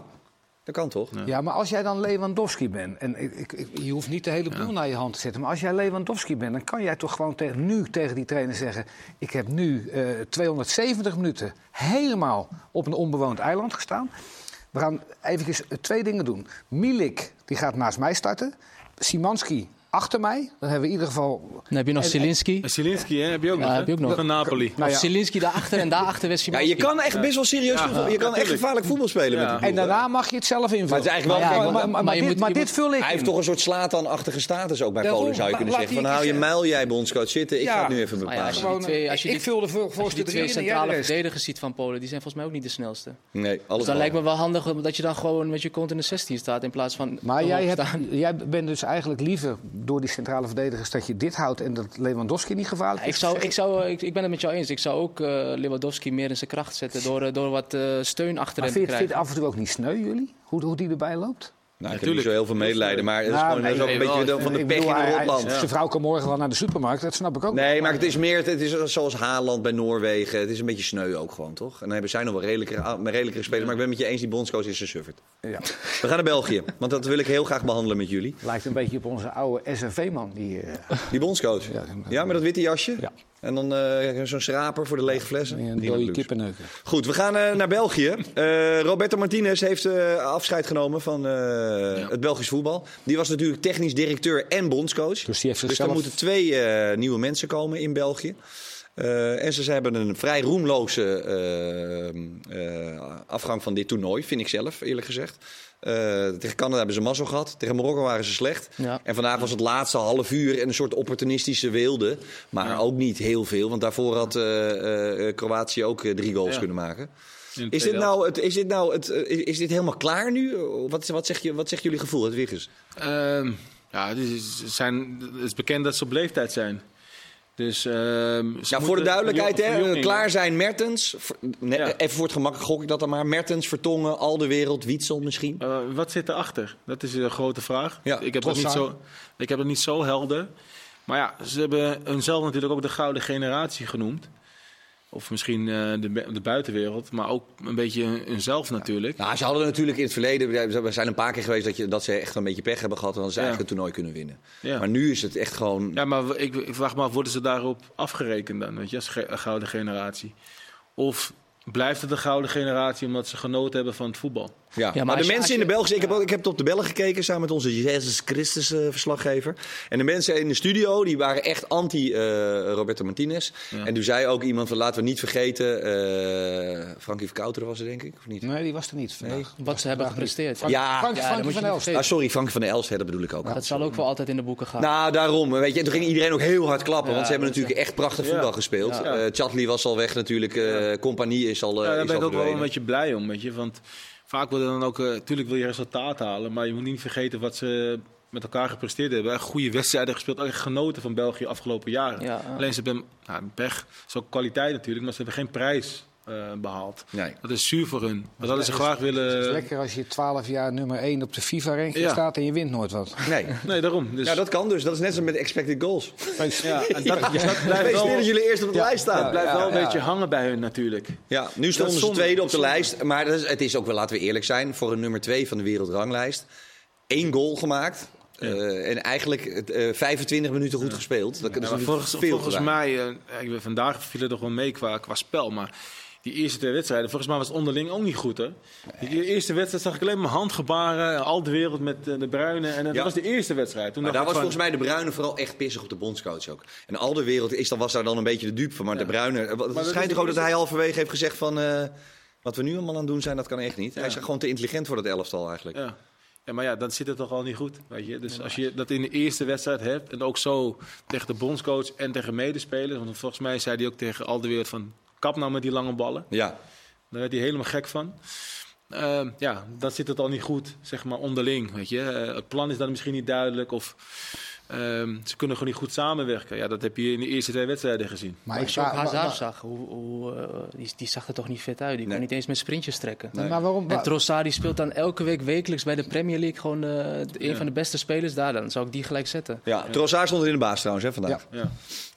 [SPEAKER 1] Dat kan toch?
[SPEAKER 2] Ja, maar als jij dan Lewandowski bent, en ik, ik, ik- je hoeft niet de hele boel naar je hand te zetten, maar als jij Lewandowski bent, dan kan jij toch gewoon tegen nu tegen die trainer zeggen: Ik heb nu eh, 270 minuten helemaal op een onbewoond eiland gestaan. We gaan even twee dingen doen. Milik, die gaat naast mij starten. Simanski achter mij. Dan hebben we in ieder geval.
[SPEAKER 4] Dan heb je nog
[SPEAKER 2] En-
[SPEAKER 4] Zielinski.
[SPEAKER 3] en Zielinski, hè, heb je ook
[SPEAKER 4] Ja,
[SPEAKER 3] nog, hè?
[SPEAKER 4] heb je ook nog.
[SPEAKER 3] Van Napoli.
[SPEAKER 2] Nou ja.
[SPEAKER 4] Of Zielinski daarachter en daarachter werd
[SPEAKER 1] Ja,
[SPEAKER 4] Szymanski.
[SPEAKER 1] je kan echt best wel serieus voetbal. Je kan echt
[SPEAKER 3] Natuurlijk.
[SPEAKER 1] gevaarlijk voetbal spelen
[SPEAKER 3] Ja.
[SPEAKER 1] met die
[SPEAKER 2] En
[SPEAKER 1] ploeg, hè?
[SPEAKER 4] eh,
[SPEAKER 2] daarna mag je het zelf invullen.
[SPEAKER 1] Maar het is eigenlijk wel-
[SPEAKER 2] Maar
[SPEAKER 1] Kijk,
[SPEAKER 2] ja,
[SPEAKER 1] want-
[SPEAKER 2] maar- maar-
[SPEAKER 4] maar
[SPEAKER 2] maar
[SPEAKER 4] je
[SPEAKER 2] dit-
[SPEAKER 4] moet-
[SPEAKER 2] maar
[SPEAKER 4] je
[SPEAKER 2] dit
[SPEAKER 4] moet-
[SPEAKER 2] vul ik
[SPEAKER 1] Hij heeft
[SPEAKER 2] in.
[SPEAKER 1] toch een soort Slatan-achtige status ook bij
[SPEAKER 2] Daarom,
[SPEAKER 1] Polen, zou je
[SPEAKER 2] laat-
[SPEAKER 1] kunnen
[SPEAKER 2] laat
[SPEAKER 1] zeggen. Van
[SPEAKER 2] die
[SPEAKER 1] hou je
[SPEAKER 2] eens-
[SPEAKER 1] mijl jij, bondscoach, zitten. Ik
[SPEAKER 2] Ja.
[SPEAKER 1] ga het nu even
[SPEAKER 4] Maar ja, als je
[SPEAKER 1] bepalen.
[SPEAKER 4] die twee, als je
[SPEAKER 2] ik
[SPEAKER 4] die-
[SPEAKER 2] vul de voor-
[SPEAKER 4] als je
[SPEAKER 2] voorste
[SPEAKER 4] die twee
[SPEAKER 2] drie en jij de
[SPEAKER 4] centrale
[SPEAKER 2] rest.
[SPEAKER 4] verdedigers ziet van Polen, die zijn volgens mij ook niet de snelste. Dus
[SPEAKER 1] Nee, alles
[SPEAKER 4] dan
[SPEAKER 1] wel.
[SPEAKER 4] lijkt me wel handig dat je dan gewoon met je kont in de 16 staat in plaats van.
[SPEAKER 2] Maar jij,
[SPEAKER 4] omhoog
[SPEAKER 2] hebt,
[SPEAKER 4] staan.
[SPEAKER 2] jij bent dus eigenlijk liever door die centrale verdedigers dat je dit houdt en dat Lewandowski niet gevaarlijk
[SPEAKER 4] Ja,
[SPEAKER 2] is.
[SPEAKER 4] Ik, zou, ik, zou, eh, ik, ik ben het met jou eens. Ik zou ook eh, Lewandowski meer in zijn kracht zetten door, eh, door wat eh, steun achter
[SPEAKER 2] maar vind
[SPEAKER 4] hem te
[SPEAKER 2] je het- vind je het
[SPEAKER 4] krijgen.
[SPEAKER 2] af en toe ook niet sneu, jullie? Hoe, hoe die erbij loopt?
[SPEAKER 1] Nou, ik heb niet
[SPEAKER 3] Natuurlijk.
[SPEAKER 1] zo heel veel medelijden, maar het is
[SPEAKER 2] Ja,
[SPEAKER 1] gewoon dat is
[SPEAKER 2] Nou, nee,
[SPEAKER 1] ook een
[SPEAKER 4] nee,
[SPEAKER 1] beetje
[SPEAKER 4] wel.
[SPEAKER 1] de- van de
[SPEAKER 2] Ik
[SPEAKER 1] pech in
[SPEAKER 2] bedoel, hij-
[SPEAKER 1] de
[SPEAKER 2] hij-
[SPEAKER 1] Rotland.
[SPEAKER 2] Zijn vrouw kan morgen wel naar de supermarkt, dat snap ik ook.
[SPEAKER 1] Nee, maar het is meer het is zoals Haaland bij Noorwegen. Het is een beetje sneu ook gewoon, toch? En dan hebben zij nog wel redelijkere, ah, redelijkere spelers. Maar ik ben met je eens, die bondscoach is een suffert.
[SPEAKER 2] Ja.
[SPEAKER 1] We gaan naar België, want dat wil ik heel graag behandelen met jullie.
[SPEAKER 2] Lijkt een beetje op onze oude SNV-man. Die, eh,
[SPEAKER 1] Die bondscoach. Ja, met dat witte jasje.
[SPEAKER 2] Ja.
[SPEAKER 1] En dan eh, zo'n schraper voor de lege flessen.
[SPEAKER 2] die
[SPEAKER 1] Prima
[SPEAKER 2] dode
[SPEAKER 1] luxe.
[SPEAKER 2] kippenneuken.
[SPEAKER 1] Goed, we gaan eh, naar België. Eh, Roberto Martinez heeft eh, afscheid genomen van eh, het Belgisch voetbal. Die was natuurlijk technisch directeur en bondscoach.
[SPEAKER 2] Dus die heeft
[SPEAKER 1] Dus
[SPEAKER 2] zichzelf-
[SPEAKER 1] er moeten twee eh, nieuwe mensen komen in België. Eh, en ze, ze hebben een vrij roemloze eh, eh, afgang van dit toernooi, vind ik zelf, eerlijk gezegd. Eh, tegen Canada hebben ze mazzel gehad. Tegen Marokko waren ze slecht.
[SPEAKER 4] Ja.
[SPEAKER 1] En vandaag was het laatste half uur en een soort opportunistische wilde. Maar ook niet heel veel, want daarvoor had eh, eh, Kroatië ook eh, drie goals
[SPEAKER 3] Ja.
[SPEAKER 1] kunnen maken.
[SPEAKER 3] In de
[SPEAKER 1] Is dit
[SPEAKER 3] tweede
[SPEAKER 1] nou, het, is dit nou het, eh, is, is dit helemaal klaar nu? Wat, wat, zeg je, wat zegt jullie gevoel, het Wiggers?
[SPEAKER 3] Ehm, ja, het is, ze zijn, het is bekend dat ze op leeftijd zijn. Dus, ehm, ze
[SPEAKER 1] Ja, Nou, voor de
[SPEAKER 3] moeten-
[SPEAKER 1] duidelijkheid,
[SPEAKER 3] jong-
[SPEAKER 1] hè,
[SPEAKER 3] verjonging,
[SPEAKER 1] klaar zijn Mertens. Ver- nee,
[SPEAKER 3] Ja.
[SPEAKER 1] Even voor het gemak gok ik dat dan maar. Mertens, Vertongen, al de wereld, Wietsel misschien.
[SPEAKER 3] Eh, wat zit erachter? Dat is een grote vraag.
[SPEAKER 1] Ja,
[SPEAKER 3] ik, heb dat niet
[SPEAKER 2] Trossard.
[SPEAKER 3] zo, ik heb dat niet zo helder. Maar ja, ze hebben hunzelf natuurlijk ook de gouden generatie genoemd. Of misschien eh, de, bu- de buitenwereld, maar ook een beetje hun- hunzelf natuurlijk.
[SPEAKER 1] Nou, ze hadden natuurlijk in het verleden, we zijn een paar keer geweest dat, je, dat ze echt een beetje pech hebben gehad. En dan ze
[SPEAKER 3] Ja.
[SPEAKER 1] eigenlijk het toernooi kunnen winnen.
[SPEAKER 3] Ja.
[SPEAKER 1] Maar nu is het echt gewoon.
[SPEAKER 3] Ja, maar w- ik, ik vraag me af, worden ze daarop afgerekend dan? Weet je, als ge- gouden generatie. Of blijft het een gouden generatie omdat ze genoten hebben van het voetbal?
[SPEAKER 1] Ja. maar,
[SPEAKER 4] maar
[SPEAKER 1] de
[SPEAKER 4] als je-
[SPEAKER 1] mensen
[SPEAKER 4] als je-
[SPEAKER 1] in de Belgische... Ik heb, ook- ik heb het op de Bellen gekeken samen met onze Jezus Christus eh, verslaggever. En de mensen in de studio, die waren echt anti eh, Roberto Martinez. En toen zei ook iemand van laten we niet vergeten... eh Frankie Verkouteren was er denk ik, of niet?
[SPEAKER 2] Nee, die was er niet vandaag.
[SPEAKER 4] Wat ze hebben gepresteerd.
[SPEAKER 2] Frank,
[SPEAKER 1] Ja.
[SPEAKER 2] Frank,
[SPEAKER 4] Ja, dat
[SPEAKER 2] Frankie
[SPEAKER 4] moet je
[SPEAKER 2] van
[SPEAKER 4] niet
[SPEAKER 2] Elst.
[SPEAKER 4] vergeten.
[SPEAKER 1] Ah, sorry, Frankie van der Elst, hè, dat bedoel ik ook.
[SPEAKER 4] Dat zal ook wel altijd in de boeken gaan.
[SPEAKER 1] Nou, daarom. Weet je, en toen ging iedereen ook heel hard klappen.
[SPEAKER 4] Ja,
[SPEAKER 1] want ze hebben
[SPEAKER 4] dat-
[SPEAKER 1] natuurlijk echt prachtig
[SPEAKER 3] Ja.
[SPEAKER 1] voetbal gespeeld. Eh
[SPEAKER 3] Ja.
[SPEAKER 1] Chatley was al weg natuurlijk. eh Compagnie is al, eh,
[SPEAKER 3] Ja, daar
[SPEAKER 1] is
[SPEAKER 3] ben
[SPEAKER 1] al
[SPEAKER 3] ik ook wel
[SPEAKER 1] verdwenen.
[SPEAKER 3] een beetje blij om, weet je. Want vaak wil je dan ook... Natuurlijk wil je resultaat halen, maar je moet niet vergeten wat ze met elkaar gepresteerd hebben. Echt goede wedstrijden gespeeld. Echt genoten van België afgelopen jaren.
[SPEAKER 4] Ja, ja.
[SPEAKER 3] Alleen ze hebben... Nou, pech. Zo kwaliteit natuurlijk, maar ze hebben geen prijs eh, behaald.
[SPEAKER 1] Nee.
[SPEAKER 3] Dat is zuur voor hun. Want dat hadden ze graag
[SPEAKER 2] Het is
[SPEAKER 3] willen...
[SPEAKER 2] lekker als je 12 jaar nummer 1 op de FIFA-ranking
[SPEAKER 3] Ja.
[SPEAKER 2] staat en je wint nooit wat.
[SPEAKER 1] Nee.
[SPEAKER 3] Nee, daarom. Dus,
[SPEAKER 1] Ja, dat kan dus. Dat is net zo met expected goals.
[SPEAKER 3] ja, en dat, dat blijft
[SPEAKER 1] Wees
[SPEAKER 3] wel,
[SPEAKER 1] dat jullie eerst op de lijst staan.
[SPEAKER 3] dat blijft
[SPEAKER 2] Ja,
[SPEAKER 3] wel een
[SPEAKER 2] ja.
[SPEAKER 3] beetje hangen bij hun natuurlijk.
[SPEAKER 1] Ja, nu stonden ze
[SPEAKER 3] zonde.
[SPEAKER 1] tweede op de lijst. Maar dat is- het is ook wel, laten we eerlijk zijn, voor een nummer twee van de wereldranglijst. Eén goal gemaakt. eh, en eigenlijk eh, 25 minuten goed gespeeld. Dat is
[SPEAKER 3] Ja, maar
[SPEAKER 1] natuurlijk
[SPEAKER 3] volgens
[SPEAKER 1] Dus veel
[SPEAKER 3] volgens
[SPEAKER 1] gedaan.
[SPEAKER 3] mij, eh, ik ben vandaag viel het nog wel mee qua, qua spel, maar die eerste twee wedstrijden, volgens mij was het onderling ook niet goed. Hè? Die eerste wedstrijd zag ik alleen maar handgebaren, al de wereld met eh, de bruine. En dat
[SPEAKER 1] Ja.
[SPEAKER 3] was de eerste wedstrijd. Toen
[SPEAKER 1] Maar daar
[SPEAKER 3] dacht
[SPEAKER 1] was
[SPEAKER 3] ik
[SPEAKER 1] volgens
[SPEAKER 3] van,
[SPEAKER 1] mij de Bruine vooral echt pissig op de bondscoach ook. En al de wereld is, dan was daar dan een beetje de dupe van. Maar de Bruine, eh, wa- het
[SPEAKER 3] dat
[SPEAKER 1] schijnt
[SPEAKER 3] is-
[SPEAKER 1] toch ook dat hij halverwege heeft gezegd van... eh, wat we nu allemaal aan het doen zijn, dat kan echt niet. Hij is gewoon te intelligent voor dat elftal eigenlijk.
[SPEAKER 3] ja. ja, maar ja, dan zit het toch al niet goed. Weet je? Dus als je dat in de eerste wedstrijd hebt, en ook zo tegen de bondscoach en tegen medespelers, want volgens mij zei hij ook tegen al de wereld van kap nou met die lange ballen.
[SPEAKER 1] Ja,
[SPEAKER 3] Daar werd hij helemaal gek van. Ehm, ja, dan zit het al niet goed, zeg maar, onderling. Weet je. Eh, het plan is dan misschien niet duidelijk. Of Ehm, ze kunnen gewoon niet goed samenwerken. Ja, dat heb je in de eerste twee wedstrijden gezien.
[SPEAKER 4] Maar als je ook
[SPEAKER 2] vraag-
[SPEAKER 4] Hazard
[SPEAKER 2] maar-
[SPEAKER 4] zag, hoe, hoe, eh, die, die zag er toch niet vet uit. Die
[SPEAKER 1] Nee.
[SPEAKER 4] kon niet eens met sprintjes trekken.
[SPEAKER 1] Nee.
[SPEAKER 2] maar waarom?
[SPEAKER 4] En Trossard die speelt dan elke week wekelijks bij de Premier League gewoon eh, een
[SPEAKER 3] Ja.
[SPEAKER 4] van de beste spelers daar. Dan zou ik die gelijk zetten.
[SPEAKER 1] Ja, Trossard stond er in de baas trouwens hè, vandaag.
[SPEAKER 3] Ja.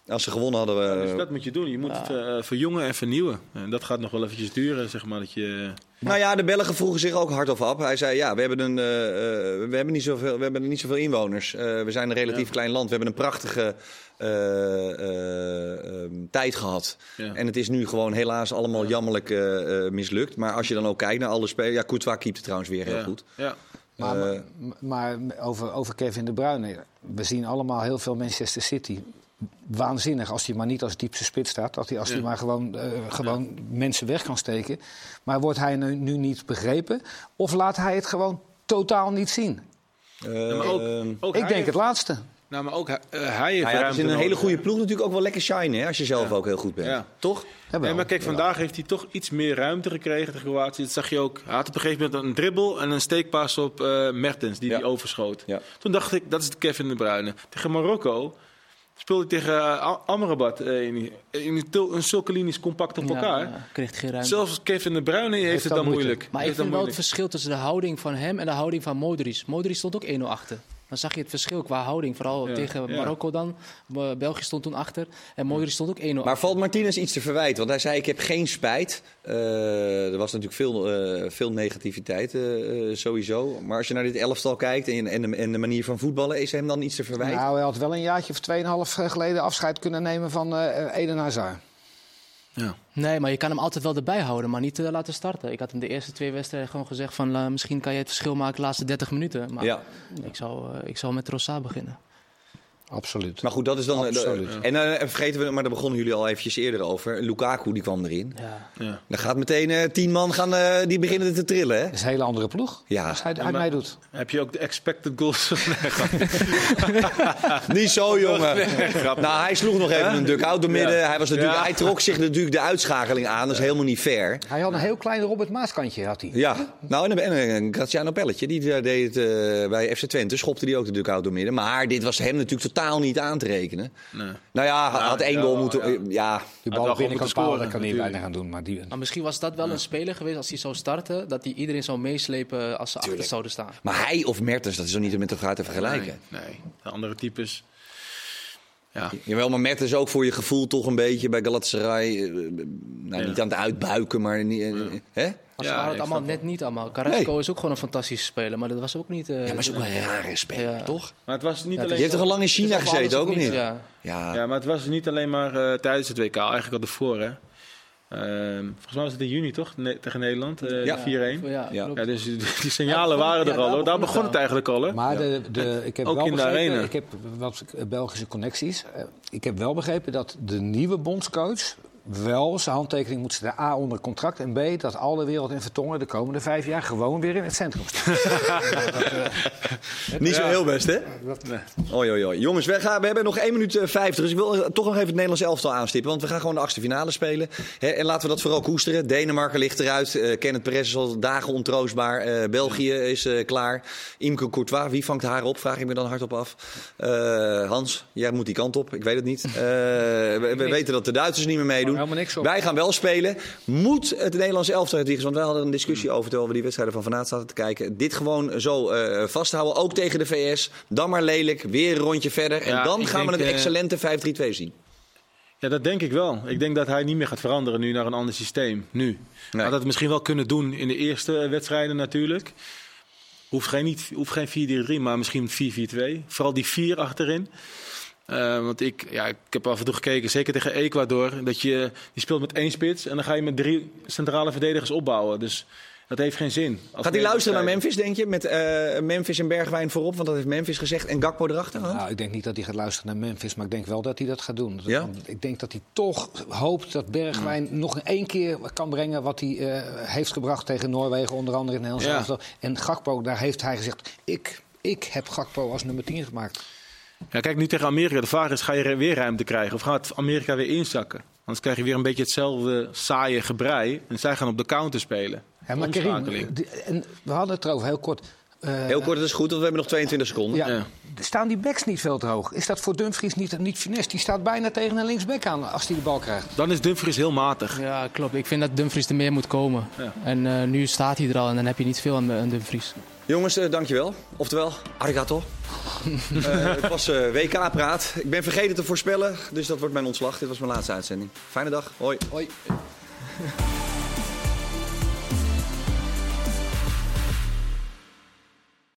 [SPEAKER 1] Als ze gewonnen hadden eh, we...
[SPEAKER 3] Dus dat moet je doen. Je moet het eh, verjongen en vernieuwen. En dat gaat nog wel eventjes duren, zeg maar. Dat je...
[SPEAKER 1] Nou ja, de Belgen vroegen zich ook hard of af. Hij zei, ja, we hebben, een, eh, eh, we hebben, niet, zoveel, we hebben niet zoveel inwoners. Eh, we zijn een relatief
[SPEAKER 3] Ja.
[SPEAKER 1] klein land. We hebben een prachtige eh, eh, ehm, tijd gehad.
[SPEAKER 3] Ja.
[SPEAKER 1] En het is nu gewoon helaas allemaal jammerlijk eh, eh, mislukt. Maar als je dan ook kijkt naar alle spelers... Ja, Courtois keept het trouwens weer heel
[SPEAKER 3] ja.
[SPEAKER 1] goed.
[SPEAKER 3] Ja.
[SPEAKER 2] Maar,
[SPEAKER 1] Eh,
[SPEAKER 2] maar maar over, over Kevin de Bruyne. We zien allemaal heel veel Manchester City. Waanzinnig als hij maar niet als diepste spits staat. Dat hij, als hij
[SPEAKER 3] Ja.
[SPEAKER 2] maar gewoon, eh, gewoon mensen weg kan steken. Maar wordt hij nu, nu niet begrepen? Of laat hij het gewoon totaal niet zien?
[SPEAKER 1] Eh,
[SPEAKER 3] Ja, maar ook,
[SPEAKER 1] ehm,
[SPEAKER 3] ook
[SPEAKER 2] Ik
[SPEAKER 3] hij
[SPEAKER 2] denk
[SPEAKER 3] heeft-
[SPEAKER 2] het laatste.
[SPEAKER 3] Nou, maar ook hij, eh, hij heeft
[SPEAKER 1] nou ja, het is
[SPEAKER 3] ruimte
[SPEAKER 1] in een
[SPEAKER 3] nodig.
[SPEAKER 1] hele goede ploeg natuurlijk ook wel lekker shine, hè, als je zelf
[SPEAKER 3] Ja.
[SPEAKER 1] ook heel goed bent.
[SPEAKER 3] Ja.
[SPEAKER 1] Toch?
[SPEAKER 2] Jawel.
[SPEAKER 3] Nee, maar kijk, vandaag heeft hij toch iets meer ruimte gekregen tegen Kroatië. Dat zag je ook. Hij had op een gegeven moment een dribbel en een steekpaas op eh, Mertens, die
[SPEAKER 1] Ja.
[SPEAKER 3] hij overschoot.
[SPEAKER 1] Ja.
[SPEAKER 3] Toen dacht ik, dat is de Kevin de Bruyne. Tegen Marokko speelde hij tegen eh, Am- Amrabat eh, in, in, tul- in zulke linies compact op
[SPEAKER 4] Ja,
[SPEAKER 3] elkaar.
[SPEAKER 4] ja, kreeg geen ruimte.
[SPEAKER 3] Zelfs Kevin de Bruyne heeft,
[SPEAKER 2] Heeft
[SPEAKER 3] het
[SPEAKER 2] dan
[SPEAKER 3] dan
[SPEAKER 2] moeite.
[SPEAKER 3] moeilijk.
[SPEAKER 4] Maar ik
[SPEAKER 3] Heeft
[SPEAKER 4] vind
[SPEAKER 3] dan
[SPEAKER 4] wel
[SPEAKER 3] moeilijk.
[SPEAKER 4] het verschil tussen de houding van hem en de houding van Modric. Modric stond ook 1-0 achter. Dan zag je het verschil qua houding. Vooral
[SPEAKER 3] Ja,
[SPEAKER 4] tegen
[SPEAKER 3] ja.
[SPEAKER 4] Marokko dan. Be- België stond toen achter. En Modric stond ook 1-0
[SPEAKER 1] Maar
[SPEAKER 4] achter.
[SPEAKER 1] valt Martinez iets te verwijten? Want hij zei: Ik heb geen spijt. Eh, er was natuurlijk veel, eh, veel negativiteit eh, eh, sowieso. Maar als je naar dit elftal kijkt en, en, de, en de manier van voetballen, is hem dan iets te verwijten?
[SPEAKER 2] Nou, hij had wel een jaartje of tweeënhalf geleden afscheid kunnen nemen van eh Eden Hazard.
[SPEAKER 3] Ja.
[SPEAKER 4] Nee, maar je kan hem altijd wel erbij houden, maar niet eh, laten starten. Ik had hem de eerste twee wedstrijden gewoon gezegd van... eh, misschien kan je het verschil maken de laatste 30 minuten. Maar
[SPEAKER 1] ja,
[SPEAKER 4] ik, zou, eh, ik zou met Trossard beginnen.
[SPEAKER 2] Absoluut.
[SPEAKER 1] maar goed, dat is dan. eh,
[SPEAKER 2] Absoluut.
[SPEAKER 1] en dan vergeten we, maar daar begonnen jullie al eventjes eerder over. Lukaku die kwam erin.
[SPEAKER 4] Ja.
[SPEAKER 3] Ja.
[SPEAKER 1] Dan gaat meteen eh, tien man gaan, eh, die beginnen te trillen, hè?
[SPEAKER 2] Dat is een hele andere ploeg.
[SPEAKER 1] Ja.
[SPEAKER 2] Als hij, hij
[SPEAKER 3] maar-
[SPEAKER 2] meedoet.
[SPEAKER 3] Heb je ook de expected goals? Nee, grap.
[SPEAKER 1] Niet zo, jongen. nou, hij sloeg nog even een duck-out door midden.
[SPEAKER 3] Ja.
[SPEAKER 1] Hij, was natuurlijk,
[SPEAKER 3] Ja.
[SPEAKER 1] hij trok zich natuurlijk de uitschakeling aan. Dat is helemaal niet fair.
[SPEAKER 2] Hij had een heel klein Robert Maaskantje. Had hij.
[SPEAKER 1] Ja, nou en, en en Graziano Pelletje, die eh, deed het eh, bij FC Twente, schopte die ook de dugout door midden. Maar dit was hem natuurlijk totaal niet aan te rekenen.
[SPEAKER 3] Nee.
[SPEAKER 1] Nou ja, hij had
[SPEAKER 3] Ja,
[SPEAKER 1] één goal
[SPEAKER 3] ja,
[SPEAKER 1] moeten... Ja,
[SPEAKER 3] ja.
[SPEAKER 2] Die
[SPEAKER 3] Had wel
[SPEAKER 2] bal
[SPEAKER 3] gewoon
[SPEAKER 2] binnenkant
[SPEAKER 3] moeten
[SPEAKER 2] paal, daar
[SPEAKER 3] scoren,
[SPEAKER 2] kan hij
[SPEAKER 3] natuurlijk.
[SPEAKER 2] weinig aan doen. Maar die,
[SPEAKER 4] Maar misschien was dat wel een speler geweest als hij zou starten... dat hij iedereen zou meeslepen als ze achter zouden staan.
[SPEAKER 1] Maar hij of Mertens, dat is toch niet met elkaar te vergelijken?
[SPEAKER 3] Nee, nee. De andere types. Ja.
[SPEAKER 1] Jawel, maar Mertens ook voor je gevoel toch een beetje bij Galatasaray... eh, eh, nou,
[SPEAKER 3] Ja.
[SPEAKER 1] niet aan het uitbuiken, maar... niet- eh, hè?
[SPEAKER 4] Maar
[SPEAKER 3] Ja,
[SPEAKER 4] ze waren
[SPEAKER 3] ik
[SPEAKER 4] het allemaal
[SPEAKER 3] snap
[SPEAKER 4] net niet allemaal. Carrasco
[SPEAKER 1] Nee.
[SPEAKER 4] is ook gewoon een fantastische speler, maar dat was ook niet... eh,
[SPEAKER 1] Ja, maar het is ook wel een rare speler,
[SPEAKER 4] Ja.
[SPEAKER 1] toch?
[SPEAKER 3] Maar het was niet
[SPEAKER 4] Ja, het
[SPEAKER 1] Je
[SPEAKER 3] alleen...
[SPEAKER 1] hebt toch al lang in
[SPEAKER 4] het is
[SPEAKER 1] China
[SPEAKER 4] of alles
[SPEAKER 1] gezeten, ook of niet? Ja.
[SPEAKER 4] Ja.
[SPEAKER 1] Ah.
[SPEAKER 3] Ja, maar het was niet alleen maar eh, tijdens het WK, eigenlijk al ervoor. Hè. Ehm, volgens mij was het in juni toch? Ne- tegen Nederland, eh,
[SPEAKER 1] Ja.
[SPEAKER 3] 4-1. Ja.
[SPEAKER 4] Ja,
[SPEAKER 1] Ja.
[SPEAKER 4] klopt.
[SPEAKER 3] dus die, die
[SPEAKER 4] Ja,
[SPEAKER 3] signalen
[SPEAKER 4] daar
[SPEAKER 3] waren
[SPEAKER 4] begon-
[SPEAKER 3] er al.
[SPEAKER 4] ja, daar
[SPEAKER 3] hoor. Daar
[SPEAKER 4] begon
[SPEAKER 3] begon
[SPEAKER 4] het
[SPEAKER 3] het eigenlijk al. Hè.
[SPEAKER 2] Maar de, de, ik heb
[SPEAKER 3] Ook
[SPEAKER 2] wel
[SPEAKER 3] in de
[SPEAKER 2] begrepen,
[SPEAKER 3] arena.
[SPEAKER 2] ik heb wat Belgische connecties. Eh, Ik heb wel begrepen dat de nieuwe bondscoach wel zijn handtekening moet zetten. A, onder contract. En B, dat alle wereld in Vertongen de komende vijf jaar gewoon weer in het centrum staat.
[SPEAKER 1] Niet zo heel best, hè?
[SPEAKER 3] Nee.
[SPEAKER 1] Oei, oei, oei. Jongens, we, gaan, we hebben nog 1 minuut eh, 50. Dus ik wil eh, toch nog even het Nederlands elftal aanstippen. Want we gaan gewoon de achtste finale spelen. Hè, en laten we dat vooral koesteren. Denemarken ligt eruit. eh Kenneth Perez is al dagen ontroostbaar. eh, België is eh, klaar. Imke Courtois, wie vangt haar op? Vraag ik me dan hardop af. Eh, Hans, jij moet die kant op. Ik weet het niet. Eh, we we weten dat de Duitsers niet meer meedoen.
[SPEAKER 2] Helemaal niks op.
[SPEAKER 1] Wij gaan wel spelen. Moet het Nederlands elftal het Wiegers, Want wij hadden een discussie
[SPEAKER 3] Hmm.
[SPEAKER 1] over terwijl we die wedstrijden van vanavond zaten te kijken. Dit gewoon zo eh, vasthouden, ook tegen de VS. Dan maar lelijk, weer een rondje verder. En
[SPEAKER 3] Ja,
[SPEAKER 1] dan
[SPEAKER 3] ik
[SPEAKER 1] gaan we
[SPEAKER 3] denk,
[SPEAKER 1] een
[SPEAKER 3] eh,
[SPEAKER 1] excellente 5-3-2 zien.
[SPEAKER 3] Ja, dat denk ik wel. Ik denk dat hij niet meer gaat veranderen nu naar een ander systeem. Nu. Hij Had dat misschien wel kunnen doen in de eerste eh, wedstrijden natuurlijk. Hoeft geen, niet, hoeft geen 4-3-3, maar misschien 4-4-2. Vooral die 4 achterin. Eh, want ik, ja, ik heb af en toe gekeken, zeker tegen Ecuador, dat je die speelt met één spits en dan ga je met drie centrale verdedigers opbouwen. Dus dat heeft geen zin.
[SPEAKER 1] Gaat hij luisteren naar Memphis, denk je? Met eh, Memphis en Bergwijn voorop, want dat heeft Memphis gezegd. En Gakpo erachter. Hans?
[SPEAKER 2] Nou, ik denk niet dat hij gaat luisteren naar Memphis, maar ik denk wel dat hij dat gaat doen. Dat-
[SPEAKER 1] Ja?
[SPEAKER 2] want Ik denk dat hij toch hoopt dat Bergwijn
[SPEAKER 3] Hmm.
[SPEAKER 2] nog één keer kan brengen wat hij eh, heeft gebracht tegen Noorwegen, onder andere in het
[SPEAKER 3] Ja.
[SPEAKER 2] Nederlands. elftal. En Gakpo, daar heeft hij gezegd: ik, ik heb Gakpo als nummer 10 gemaakt.
[SPEAKER 3] Ja, kijk nu tegen Amerika. De vraag is: ga je weer ruimte krijgen of gaat Amerika weer inzakken? Anders krijg je weer een beetje hetzelfde saaie gebrei. En zij gaan op de counter spelen.
[SPEAKER 2] Ja, maar Karim,
[SPEAKER 3] Omschakeling.
[SPEAKER 2] die- en we hadden het erover heel kort. Eh,
[SPEAKER 1] Heel kort, dat is goed, want we hebben nog 22 seconden.
[SPEAKER 2] Ja,
[SPEAKER 3] Ja.
[SPEAKER 2] staan die backs niet veel te hoog? Is dat voor Dumfries niet, niet finesse? Die staat bijna tegen een linksback aan als hij de bal krijgt.
[SPEAKER 3] Dan is Dumfries heel matig.
[SPEAKER 4] Ja, klopt. Ik vind dat Dumfries er meer moet komen.
[SPEAKER 3] Ja.
[SPEAKER 4] En eh, nu staat hij er al en dan heb je niet veel aan, aan Dumfries.
[SPEAKER 1] Jongens, eh, dankjewel. Oftewel, arigato. Eh, het was eh, WK-praat. Ik ben vergeten te voorspellen, dus dat wordt mijn ontslag. Dit was mijn laatste uitzending. Fijne dag. Hoi.
[SPEAKER 2] Hoi.